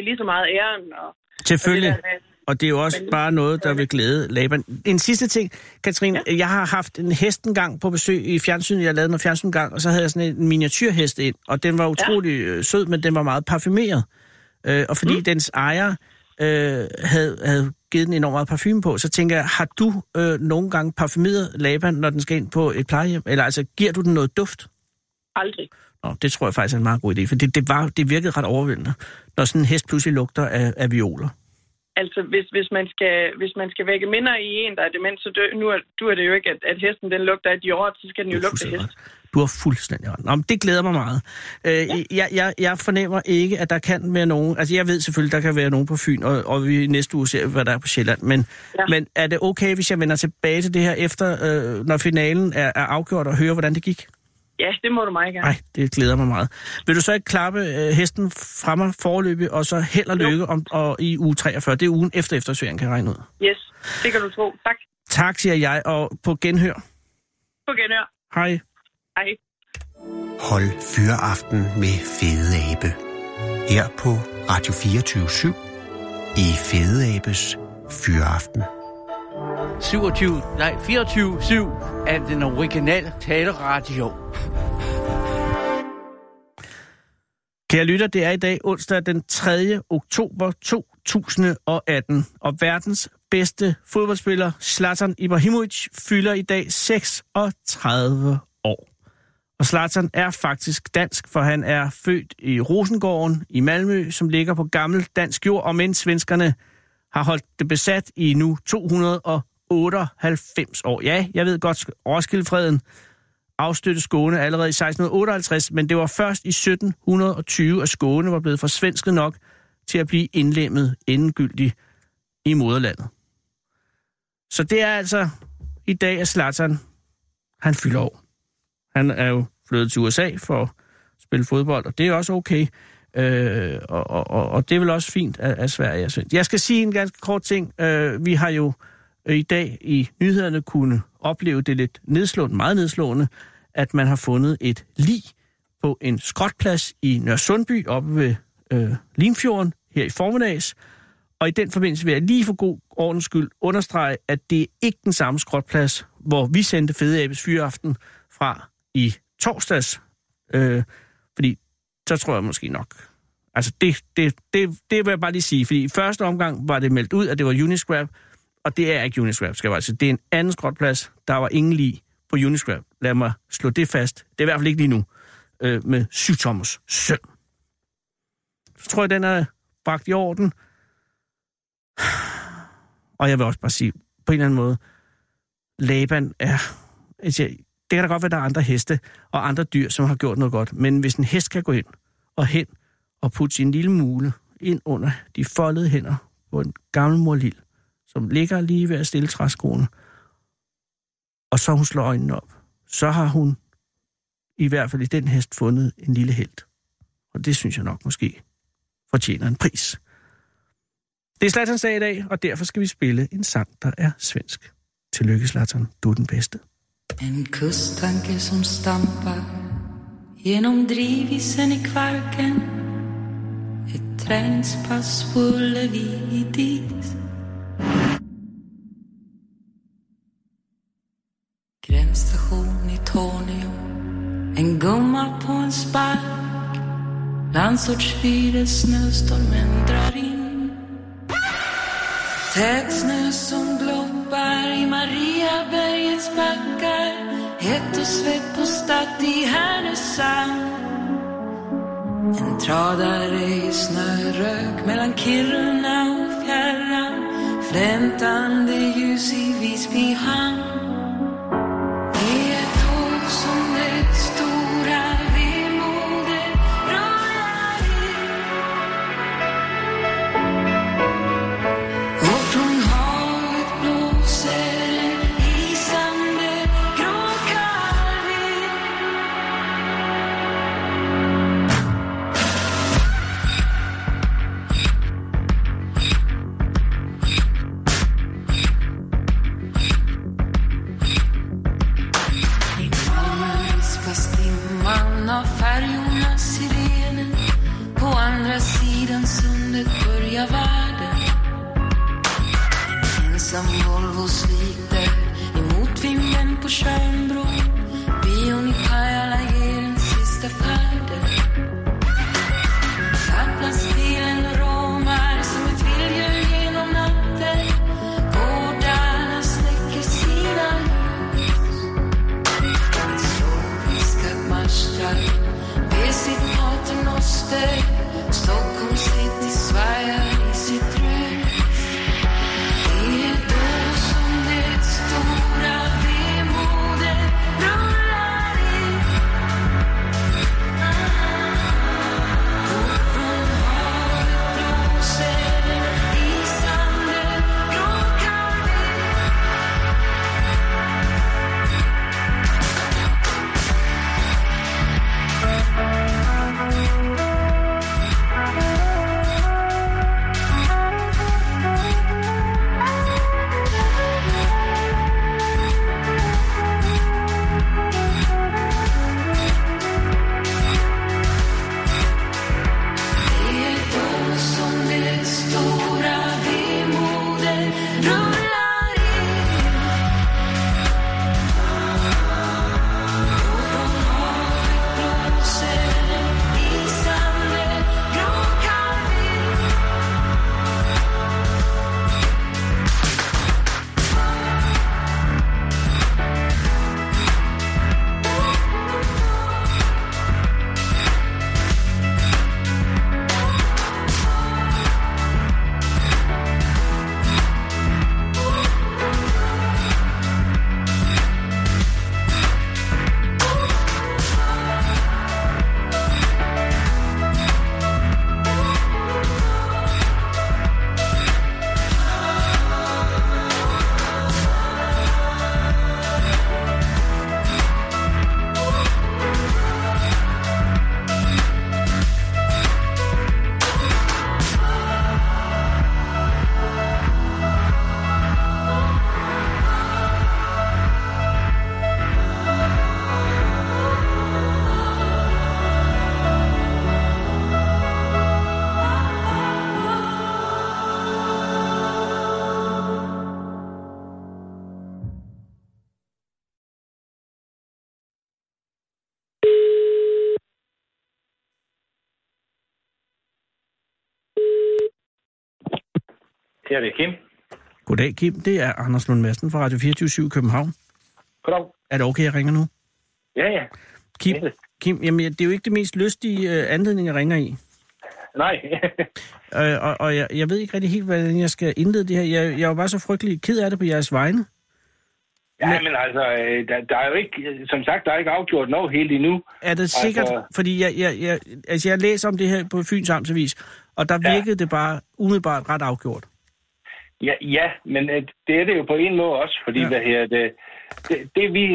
Speaker 5: lige så meget æren og, og det
Speaker 4: Selvfølgelig.
Speaker 5: der med,
Speaker 4: Og det er jo også
Speaker 5: Men-
Speaker 4: bare noget, der vil glæde Laban. En sidste ting, Katrine. Ja. Jeg har haft en hest engang på besøg i fjernsynet. Jeg lavede noget fjernsyn engang, og så havde jeg sådan en miniatyrhest ind. Og den var utrolig ja. sød, men den var meget parfumeret. Øh, og fordi mm. dens ejer øh, havde, havde givet den enormt meget parfume på, så tænker jeg, har du øh, nogle gange parfumeret Laban, når den skal ind på et plejehjem? Eller altså, giver du den noget duft?
Speaker 5: Aldrig.
Speaker 4: Nå, det tror jeg faktisk er en meget god idé, for det, det, var, det virkede ret overvældende, når sådan en hest pludselig lugter af, af violer.
Speaker 5: Altså, hvis, hvis, man skal, hvis man skal vække minder i en, der er dement, så dø, nu er, du er det jo ikke, at, at hesten den lugter af Dior, så skal den jo
Speaker 4: Du har
Speaker 5: lugte af
Speaker 4: fuldstændig
Speaker 5: hest.
Speaker 4: ret. Du har fuldstændig ret. Nå, men det glæder mig meget. Øh, jeg, jeg, jeg fornemmer ikke, at der kan være nogen... Altså, jeg ved selvfølgelig, der kan være nogen på Fyn, og, og vi i næste uge ser, hvad der er på Sjælland. Men, ja.
Speaker 5: Ja.
Speaker 4: men er det okay, hvis jeg vender tilbage til det her, efter øh, når finalen er, er afgjort, og hører, hvordan det gik?
Speaker 5: Ja, det må du meget gerne.
Speaker 4: Nej, det glæder mig meget. Vil du så ikke klappe øh, hesten fra mig forløbig, og så held og lykke om, og i uge 43? Det er ugen efter eftersøgeren, kan jeg regne ud.
Speaker 5: Yes, det kan du tro. Tak.
Speaker 4: Tak, siger jeg, og på genhør.
Speaker 5: På genhør.
Speaker 4: Hej.
Speaker 5: Hej.
Speaker 3: Hold fyreaften med Fede Abe. Her på Radio 24 i Fede Abes Fyreaften.
Speaker 6: 27, nej 24-7 af den originale taleradio.
Speaker 4: Kære lytter, det er i dag onsdag den 3. oktober 2018, og verdens bedste fodboldspiller Zlatan Ibrahimovic fylder i dag 36 år. Og Zlatan er faktisk dansk, for han er født i Rosengården i Malmø, som ligger på gammel dansk jord, og mens svenskerne har holdt det besat i nu 298 år. Ja, jeg ved godt, Roskildefreden afstøtte Skåne allerede i 1658, men det var først i 1720, at Skåne var blevet forsvensket nok til at blive indlemmet endegyldigt i moderlandet. Så det er altså i dag, at Zlatan, han fylder år. Han er jo flyttet til USA for at spille fodbold, og det er også okay. Øh, og, og, og og det er vel også fint at, at Sverige er svensk. Jeg skal sige en ganske kort ting. Øh, vi har jo øh, i dag i nyhederne kunne opleve det lidt nedslående, meget nedslående, at man har fundet et lig på en skrotplads i Nørresundby oppe ved øh, Limfjorden her i formiddags. Og i den forbindelse vil jeg lige for god ordens skyld understrege, at det er ikke den samme skrotplads, hvor vi sendte Fede Abes Fyraften fra i torsdags. Øh, fordi så tror jeg måske nok. Altså det, det, det, det vil jeg bare lige sige, fordi i første omgang var det meldt ud, at det var Uniscrap, og det er ikke Uniscrap, skal jeg bare sige. Det er en anden skrotplads, der var ingen lige på Uniscrap. Lad mig slå det fast. Det er i hvert fald ikke lige nu øh, med syv Thomas søn. Så tror jeg, den er bragt i orden. Og jeg vil også bare sige, på en eller anden måde, Laban er... Jeg siger, det kan da godt være, der er andre heste og andre dyr, som har gjort noget godt. Men hvis en hest kan gå ind og hen og putte sin lille mule ind under de foldede hænder på en gammel mor Lil, som ligger lige ved at stille træskoene, og så hun slår øjnene op, så har hun i hvert fald i den hest fundet en lille held. Og det synes jeg nok måske fortjener en pris. Det er Zlatans dag i dag, og derfor skal vi spille en sang, der er svensk. Tillykke, Zlatan. Du er den bedste.
Speaker 7: En kusttanke som stampar Genom drivisen i Kvarken Ett träningspass på Ullevi dit Gränsstation i Tornio En gumma på en spark Landsortsfyr snöstormen drar in Tät snö som gloppar i Mariabergets backar Hett och svett på Statt i Härnösand En tradare i snörök mellan Kiruna och fjärran Flämtande ljus i Visby hamn Det är tåg som det stora vemodet rullar in Och från havet blåser en isande grå kall vind. I morgon vispas dimman av färjornas sirener. På andra sidan sundet börjar världen Ensam Volvo sliter emot vinden på Tjörnbro. Bion i Pajala ger en sista färden. Atlasbilen romar som ett vilddjur genom natten. Gårdarna släcker sina ljus. Ett slåpiskat marschtall ber sitt paternoster. Stockholms city svajar i sitt rus. Det är då som det stora vemodet rullar in. Från havet blåser en isande grå kamel. Det är då som det stora vemodet rullar in. Och från havet blåser en isande grå kamel.
Speaker 8: Her er det Kim.
Speaker 4: Goddag, Kim. Det er Anders Lund Madsen fra Radio 24 i København.
Speaker 8: Goddag.
Speaker 4: Er det okay, jeg ringer nu?
Speaker 8: Ja, ja.
Speaker 4: Kim,
Speaker 8: Ja.
Speaker 4: Kim jamen, det er jo ikke det mest lystige øh, anledning, jeg ringer i.
Speaker 8: Nej.
Speaker 4: Øh, og og jeg, jeg ved ikke rigtig helt, hvordan jeg skal indlede det her. Jeg, jeg er jo bare så frygtelig ked af det på jeres vegne.
Speaker 8: ja, men altså, øh, der, der er jo ikke, som sagt, der er ikke afgjort noget helt endnu.
Speaker 4: Er det sikkert?
Speaker 8: Altså-
Speaker 4: Fordi jeg, jeg, jeg, altså jeg læser om det her på Fyns Amtsavis, og der
Speaker 8: Ja.
Speaker 4: virkede det bare umiddelbart ret afgjort.
Speaker 8: Ja, ja men øh, det er det jo på en måde også, fordi
Speaker 4: Ja.
Speaker 8: ja. hvad her, det, det, det vi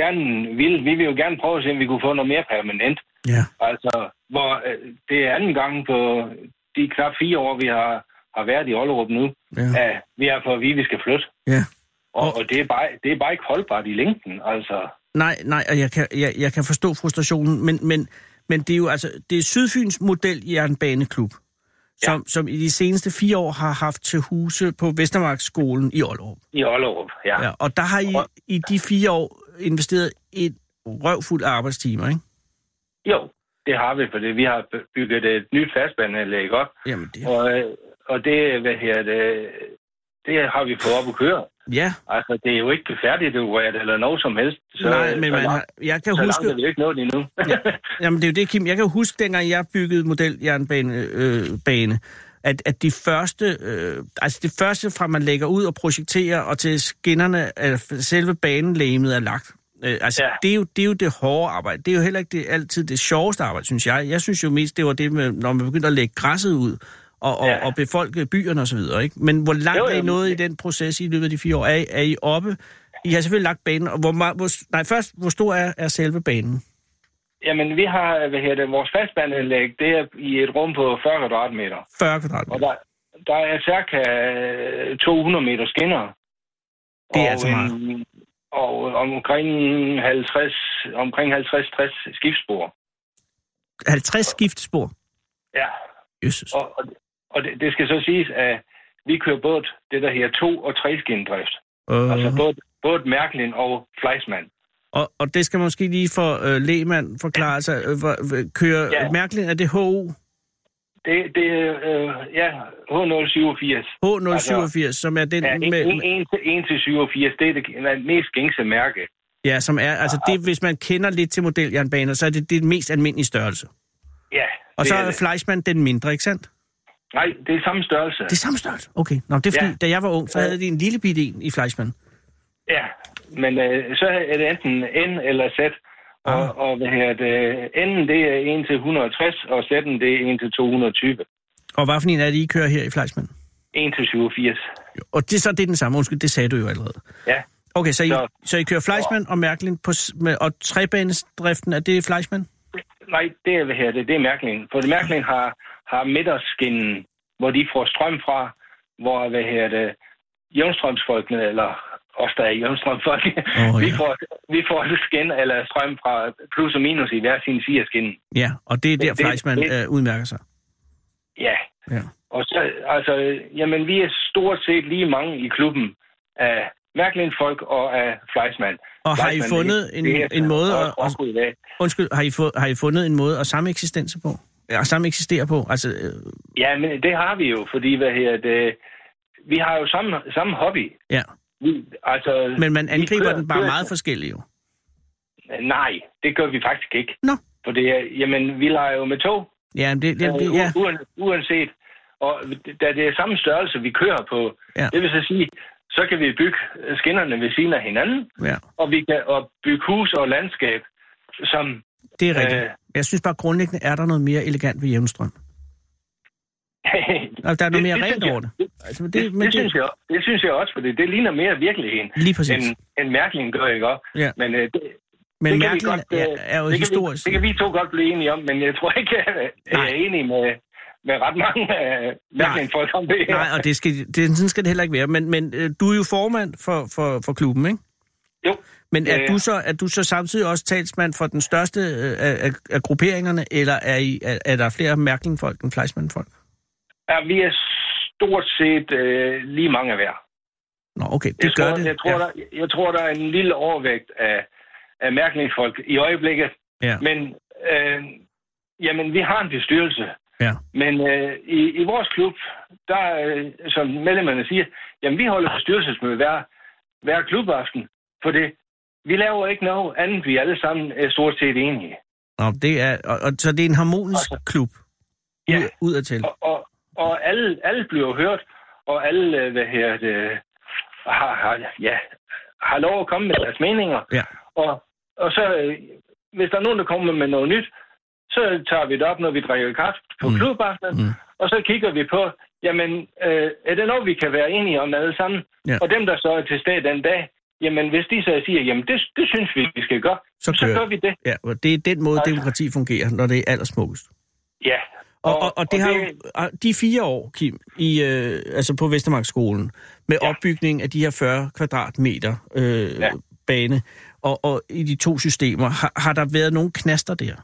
Speaker 8: gerne vil, vi vil jo gerne prøve at se, om vi kunne få noget mere permanent.
Speaker 4: Ja.
Speaker 8: Altså, hvor øh, det er anden gang på de knap fire år, vi har, har været i Ollerup nu,
Speaker 4: Ja.
Speaker 8: ja. at vi har fået at vide, at vi skal flytte.
Speaker 4: ja.
Speaker 8: Og,
Speaker 4: Og-
Speaker 8: og det, er bare, det er bare ikke holdbart i længden, altså.
Speaker 4: Nej, nej, og jeg kan, jeg, jeg kan forstå frustrationen, men, men, men det er jo altså, det er Sydfyns model jernbaneklub, som, ja. som i de seneste fire år har haft til huse på Vestermarksskolen i Aalborg.
Speaker 8: I Ollerup, ja.
Speaker 4: Ja, og der har I
Speaker 8: Og-
Speaker 4: i de fire år investeret et røvfuld af arbejdstimer, ikke?
Speaker 8: Jo, det har vi, for det. vi har bygget et nyt fastbaneanlæg op,
Speaker 4: Jamen, det,
Speaker 8: og, øh, og det, hvad her, det, det har vi fået op at køre.
Speaker 4: ja,
Speaker 8: Altså, det er jo ikke færdigdekoreret eller noget som helst. Så,
Speaker 4: nej, men
Speaker 8: så,
Speaker 4: man har,
Speaker 8: langt,
Speaker 4: jeg kan
Speaker 8: så langt
Speaker 4: huske...
Speaker 8: er vi jo ikke nået endnu.
Speaker 4: Jamen, det er jo det, Kim. Jeg kan huske, dengang jeg byggede modeljernbane, øh, bane, at, at de første, øh, altså det første fra man lægger ud og projekterer, og til skinnerne, altså selve banelægemet er lagt. Øh, altså, ja.
Speaker 8: Ja.
Speaker 4: det, er jo, det er jo det hårde arbejde. Det er jo heller ikke det, altid det sjoveste arbejde, synes jeg. Jeg synes jo mest, det var det, med, når man begyndte at lægge græsset ud, og, og, ja.
Speaker 8: Ja.
Speaker 4: og befolke byerne osv. Ikke? Men hvor langt
Speaker 8: Jo,
Speaker 4: er I
Speaker 8: jo, men-
Speaker 4: nået i den proces i løbet af de fire år? Er, I- er I oppe? I har selvfølgelig lagt banen. Og hvor, meget- hvor, nej, først, hvor stor er, er selve banen?
Speaker 8: Jamen, vi har, hvad her, det, vores fastbaneanlæg, det er i et rum på 40 kvadratmeter.
Speaker 4: 40 kvadratmeter.
Speaker 8: Og der, der er cirka øh, 200 meter skinner.
Speaker 4: Det er altså meget.
Speaker 8: en- Og omkring 50, omkring 50-60 skibsspor.
Speaker 4: 50 skiftspor.
Speaker 8: Ja,
Speaker 4: Jesus.
Speaker 8: og, og- og det, det skal så siges, at vi kører både det, der hedder to- og treskindrift.
Speaker 4: Øh,
Speaker 8: Uh-huh. Altså både, både Mærkelin og Fleisman.
Speaker 4: og, og det skal måske lige for øh, lægmand forklare sig. Øh, hvor- hvor- kører ja.
Speaker 8: Ja. Altså,
Speaker 4: Mærkeligt, er det HO?
Speaker 8: Det, det er, øh, ja, H087.
Speaker 4: H087, altså, som er den,
Speaker 8: Ja,
Speaker 4: ja,
Speaker 8: en,
Speaker 4: med,
Speaker 8: en, en, til, en til 87, det er det det mest gængse mærke.
Speaker 4: ja, som er, altså
Speaker 8: Ah.
Speaker 4: det, hvis man kender lidt til modeljernbaner, så er det det mest almindelige størrelse.
Speaker 8: Ja,
Speaker 4: Og
Speaker 8: det
Speaker 4: så
Speaker 8: er
Speaker 4: er
Speaker 8: det.
Speaker 4: Fleischmann den mindre, ikke sandt?
Speaker 8: Nej, det er samme størrelse.
Speaker 4: Det er samme størrelse. Okay. Nå, det er fordi, ja.
Speaker 8: Ja.
Speaker 4: da jeg var ung, så havde de en lille bitte en i Fleischmann.
Speaker 8: Ja, men øh, så er det enten N eller Z. Og,
Speaker 4: Ah.
Speaker 8: og hvad her, det, N'en det er 1 til 160, og Z'en det er 1 til 220.
Speaker 4: Og hvad for en er det, I kører her i Fleischmann?
Speaker 8: 1 til 87.
Speaker 4: Og det, så er det den samme, undskyld, det sagde du jo allerede.
Speaker 8: Ja,
Speaker 4: Okay, så I, så,
Speaker 8: Så-
Speaker 4: så I kører Fleischmann og Mærkelin på, s- med, og trebanesdriften, er det Fleischmann?
Speaker 8: nej, det er, hvad her, det, det er Mærklingen. For Mærklingen har, har midterskinnen, hvor de får strøm fra, hvor, hvad her, det, jævnstrømsfolkene, eller os, der er jævnstrømsfolk,
Speaker 4: Åh,
Speaker 8: oh, vi,
Speaker 4: ja.
Speaker 8: får, vi får skin eller strøm fra plus og minus i hver sin fire skin.
Speaker 4: Ja, og det er der,
Speaker 8: det-
Speaker 4: Fleischmann
Speaker 8: det-
Speaker 4: øh, udmærker sig.
Speaker 8: Ja,
Speaker 4: Ja.
Speaker 8: Og så, altså, jamen, vi er stort set lige mange i klubben af Mærkelindfolk og af Fleisman.
Speaker 4: Og har I
Speaker 8: Fleisman,
Speaker 4: fundet
Speaker 8: det-
Speaker 4: en-
Speaker 8: det er
Speaker 4: en måde
Speaker 8: også-
Speaker 4: at-
Speaker 8: også i dag.
Speaker 4: Undskyld, har I, få, har I fundet en måde at sameksistence på? Ja, sameksistere på? Altså, øh,
Speaker 8: Ja, men det har vi jo, fordi hvad her, det, vi har jo samme, samme hobby.
Speaker 4: ja.
Speaker 8: Vi, altså,
Speaker 4: Men man
Speaker 8: vi
Speaker 4: angriber
Speaker 8: kører-
Speaker 4: den bare
Speaker 8: kører-
Speaker 4: meget forskelligt jo.
Speaker 8: Nej, det gør vi faktisk ikke.
Speaker 4: Nå.
Speaker 8: For det er, jamen, vi leger jo med tog,
Speaker 4: Ja, men det,
Speaker 8: Jamen,
Speaker 4: det, det, ja.
Speaker 8: u- uanset. Og da det er samme størrelse, vi kører på,
Speaker 4: Ja.
Speaker 8: det vil så sige, så kan vi bygge skinnerne ved siden af hinanden,
Speaker 4: ja,
Speaker 8: og vi kan og bygge hus og landskab, som...
Speaker 4: det er rigtigt.
Speaker 8: Øh.
Speaker 4: Jeg synes bare, grundlæggende er der noget mere elegant ved jævnstrøm. Altså, der er noget
Speaker 8: Det-
Speaker 4: mere
Speaker 8: det
Speaker 4: rent
Speaker 8: synes jeg.
Speaker 4: over det. Altså, men
Speaker 8: Det,
Speaker 4: det,
Speaker 8: det,
Speaker 4: men
Speaker 8: synes
Speaker 4: det,
Speaker 8: jeg, det synes jeg også, for det ligner mere virkeligheden,
Speaker 4: lige præcis.
Speaker 8: end, end Mærklingen gør, ikke også?
Speaker 4: Ja.
Speaker 8: Men øh, det,
Speaker 4: Men
Speaker 8: det kan vi
Speaker 4: Merkel
Speaker 8: godt, øh,
Speaker 4: er, er jo
Speaker 8: det,
Speaker 4: historisk.
Speaker 8: kan vi, det kan vi to godt blive enige om, men jeg tror ikke, jeg
Speaker 4: Nej.
Speaker 8: er enig med, med ret mange øh, af Mærkling-folk om det her.
Speaker 4: Nej, og det skal, det, sådan skal det heller ikke være. Men, men øh, du er jo formand for, for, for klubben, ikke?
Speaker 8: Jo.
Speaker 4: Men er,
Speaker 8: Ja, ja.
Speaker 4: du så, er du så samtidig også talsmand for den største øh, af, af, af grupperingerne, eller er, I, er, er der flere Mærkling-folk end Fleischmann-folk?
Speaker 8: Ja, vi er stort set øh, lige mange af hver.
Speaker 4: Nå, okay, det
Speaker 8: Jeg
Speaker 4: gør
Speaker 8: tror,
Speaker 4: det.
Speaker 8: Jeg tror,
Speaker 4: ja.
Speaker 8: der, jeg tror, der er en lille overvægt af, af mærkningsfolk i øjeblikket.
Speaker 4: Ja.
Speaker 8: Men øh, jamen, vi har en bestyrelse.
Speaker 4: Ja.
Speaker 8: Men øh, i, i vores klub, der øh, som medlemmerne siger, jamen vi holder bestyrelsesmøde hver, hver klubaften, for det, vi laver ikke noget andet, vi er alle sammen er stort set enige.
Speaker 4: Nå, det er, og, og, så det er en harmonisk
Speaker 8: Og
Speaker 4: klub,
Speaker 8: Altså, Ja.
Speaker 4: ud, ud af til.
Speaker 8: Og, og, og alle, alle bliver hørt, og alle øh, hvad her, det, har, har, ja, har lov at komme med deres meninger.
Speaker 4: Ja.
Speaker 8: Og, og så, øh, hvis der er nogen, der kommer med noget nyt, så tager vi det op, når vi drikker kaffe på
Speaker 4: Mm.
Speaker 8: mm. klubaftenen,
Speaker 4: Mm.
Speaker 8: mm. og så kigger vi på, jamen, øh, er det noget, vi kan være enige om alle sammen?
Speaker 4: Ja.
Speaker 8: Og dem, der så er til stede den dag, jamen, hvis de så siger, jamen, det, det synes vi, vi skal gøre,
Speaker 4: Så
Speaker 8: så
Speaker 4: kører
Speaker 8: gør vi det.
Speaker 4: Ja, og det er den måde,
Speaker 8: Altså.
Speaker 4: demokrati fungerer, når det er allersmukkest.
Speaker 8: Ja.
Speaker 4: Og, og, og det har jo, og de fire år, Kim, i, øh, altså på Vestermarksskolen, med ja.
Speaker 8: Ja.
Speaker 4: opbygning af de her 40 kvadratmeter øh, ja.
Speaker 8: Ja.
Speaker 4: bane, og, og i de to systemer, har, har der været nogle knaster der?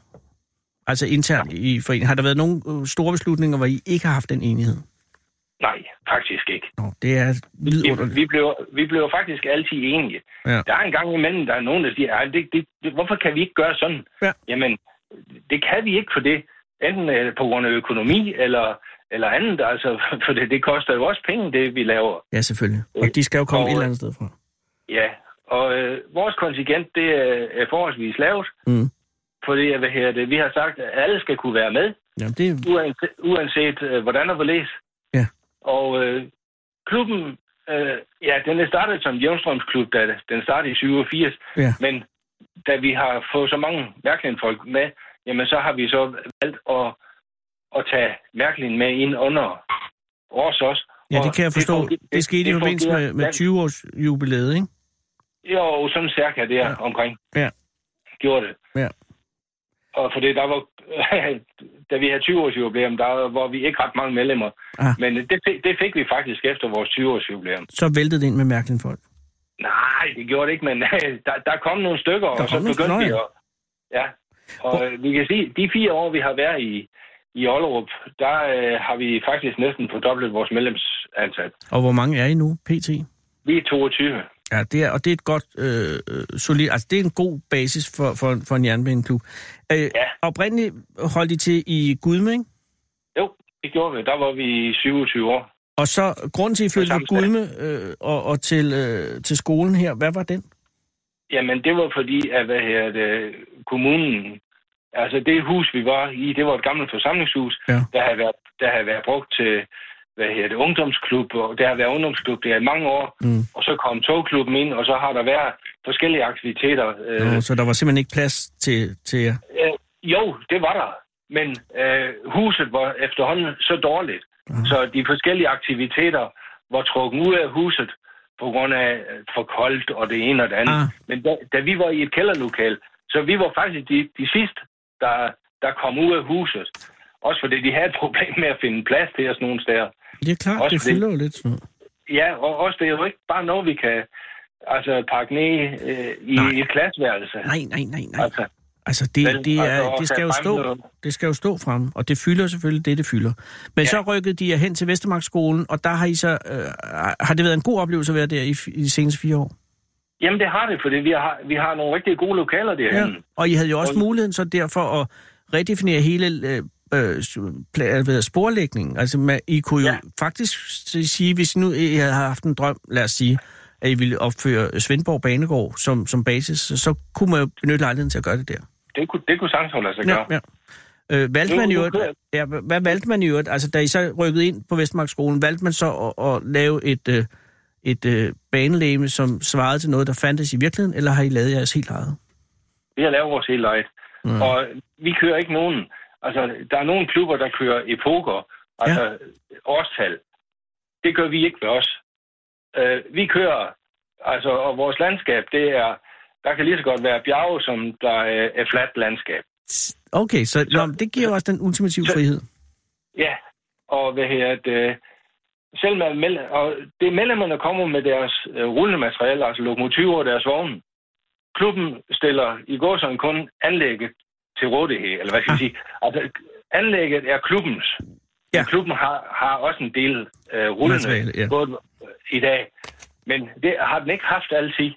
Speaker 4: Altså internt i foreningen. Har der været nogle øh, store beslutninger, hvor I ikke har haft den enighed?
Speaker 8: Nej, faktisk ikke.
Speaker 4: Nå, det er
Speaker 8: Vi,
Speaker 4: vidunderligt.
Speaker 8: vi, blev, vi blev faktisk altid enige.
Speaker 4: Ja.
Speaker 8: Der er en gang imellem, der er nogen, der siger, "Ej, det, det, det, hvorfor kan vi ikke gøre sådan?
Speaker 4: Ja.
Speaker 8: Jamen, det kan vi ikke for det. Enten øh, på grund af økonomi, eller, eller andet. Altså, for det, det koster jo også penge, det vi laver.
Speaker 4: Ja, selvfølgelig. Og de skal jo komme
Speaker 8: Og,
Speaker 4: et eller
Speaker 8: øh,
Speaker 4: andet sted fra.
Speaker 8: Ja, og øh, vores kontingent, det er er forholdsvis lavt.
Speaker 4: Mm.
Speaker 8: Fordi hvad her, det, vi har sagt, at alle skal kunne være med,
Speaker 4: Jamen, det,
Speaker 8: uanset, uanset øh, hvordan og hvorledes.
Speaker 4: Ja.
Speaker 8: Og øh, klubben, øh, ja, den er startet som Jævnstrømsklub, da den startede i 87.
Speaker 4: Ja.
Speaker 8: Men da vi har fået så mange mærkelindfolk med, jamen så har vi så valgt at, at tage mærkelin med ind under os også.
Speaker 4: ja, det
Speaker 8: Og
Speaker 4: kan jeg forstå.
Speaker 8: fungerer-
Speaker 4: Det, skete i forbindelse
Speaker 8: fungerer
Speaker 4: med, med
Speaker 8: ganske
Speaker 4: 20-års jubilæet, ikke?
Speaker 8: jo, sådan cirka der
Speaker 4: Ja.
Speaker 8: ja. omkring.
Speaker 4: Ja.
Speaker 8: Gjorde det.
Speaker 4: Ja.
Speaker 8: Og for det, der var, da vi havde 20-års jubilæum, der var vi ikke ret mange medlemmer.
Speaker 4: Ah.
Speaker 8: Men det, fik- det fik vi faktisk efter vores 20-års jubilæum.
Speaker 4: Så væltede det ind med mærkelige folk.
Speaker 8: Nej, det gjorde det ikke, men der, der kom nogle stykker,
Speaker 4: Der
Speaker 8: og så
Speaker 4: kom nogle
Speaker 8: begyndte vi
Speaker 4: stykker,
Speaker 8: at... Ja, og øh, vi kan sige, de fire år, vi har været i, i Ollerup, der øh, har vi faktisk næsten fordoblet vores medlems, ansat.
Speaker 4: Og hvor mange er I nu, PT?
Speaker 8: Vi er 22.
Speaker 4: Ja, det er, og det er et godt, øh, øh, solid, altså det er en god basis for, for, for en jernbaneklub. Øh, ja. Oprindeligt holdt I til i Gudme, ikke?
Speaker 8: Jo, det gjorde vi. Der var vi 27 år.
Speaker 4: Og så, grunden til, at I flyttede fra
Speaker 8: samme sted.
Speaker 4: Gudme øh, og, og til, øh, til skolen her, hvad var den?
Speaker 8: Jamen, det var fordi, at hvad her, det, kommunen... Altså, det hus, vi var i, det var et gammelt forsamlingshus,
Speaker 4: Ja.
Speaker 8: der, havde været, der havde været brugt til hvad her, det, ungdomsklub, og der har været ungdomsklub der i mange år,
Speaker 4: Mm.
Speaker 8: og så kom togklubben ind, og så har der været forskellige aktiviteter.
Speaker 4: Øh.
Speaker 8: Øh,
Speaker 4: Nå, så der var simpelthen ikke plads til, til jer.
Speaker 8: øh, jo, det var der, men øh, huset var efterhånden så dårligt,
Speaker 4: Mhm.
Speaker 8: så de forskellige aktiviteter var trukket ud af huset på grund af øh, for koldt og det ene og det andet.
Speaker 4: Ah.
Speaker 8: Ah. Men da, da vi var i et kælderlokal, så vi var faktisk de, de sidste, der, der kom ud af huset. Også fordi de havde et problem med at finde plads til os nogle steder.
Speaker 4: Det er klart,
Speaker 8: Også
Speaker 4: det
Speaker 8: det.
Speaker 4: fylder jo lidt. Sådan. noget.
Speaker 8: Ja, og også det er jo ikke bare noget, vi kan altså, pakke ned øh, i
Speaker 4: Nej.
Speaker 8: et klasseværelse.
Speaker 4: Nej, nej, nej, nej.
Speaker 8: Altså,
Speaker 4: Altså, det,
Speaker 8: Vel,
Speaker 4: det,
Speaker 8: altså,
Speaker 4: er,
Speaker 8: og
Speaker 4: det
Speaker 8: tage
Speaker 4: skal jo stå,
Speaker 8: frem-
Speaker 4: det skal jo stå frem, og det fylder selvfølgelig det, det fylder. Men ja. så rykkede de jer hen til Vestermarksskolen, og der har I så, øh, har det været en god oplevelse at være der i, f- i de seneste fire år?
Speaker 8: jamen, det har det, fordi vi har, vi har nogle rigtig gode lokaler derhenne.
Speaker 4: Og I havde jo også
Speaker 8: Og-
Speaker 4: muligheden så derfor at redefinere hele øh, øh, s- pla- øh, hvad hedder, sporlægningen. Altså, man, I kunne jo ja.
Speaker 8: Ja.
Speaker 4: faktisk s- sige, hvis nu I havde haft en drøm, lad os sige, at I ville opføre Svendborg Banegård som, som basis, så- så kunne man jo benytte lejligheden til at gøre det der.
Speaker 8: Det kunne, det kunne sagtens holde sig gøre.
Speaker 4: ja. Øh, valgte
Speaker 8: Nu-
Speaker 4: man i
Speaker 8: nu
Speaker 4: øvrigt,
Speaker 8: kører jeg.
Speaker 4: ja, hva- hvad valgte man i øvrigt, altså da I så rykkede ind på Vestmarksskolen, valgte man så at, at lave et, øh, et øh, banelæme, som svarede til noget, der fandtes i virkeligheden, eller har I lavet jeres helt eget?
Speaker 8: Vi har lavet vores hele eget.
Speaker 4: Mm.
Speaker 8: Mm. Og vi kører ikke nogen. Altså, der er nogle klubber, der kører epoker, altså årstal. Det gør vi ikke ved os. Øh, vi kører, altså, og vores landskab, det er, der kan lige så godt være bjerge, som der er et fladt landskab.
Speaker 4: Okay, så, så nå, men det giver jo også den ultimative
Speaker 8: Så-
Speaker 4: frihed.
Speaker 8: Ja, og hvad her, at, øh, selv med, mell- og det er medlemmerne, der kommer med deres øh, rullematerialer, altså lokomotiver og deres vogne. Klubben stiller i går sådan kun anlægget til rådighed, eller hvad skal jeg sige. Altså, anlægget er klubbens.
Speaker 4: Ah. Ja.
Speaker 8: Ja. Klubben har, har også en del øh, rullende
Speaker 4: Materiale, ja.
Speaker 8: både, øh, i dag, men det har den ikke haft altid.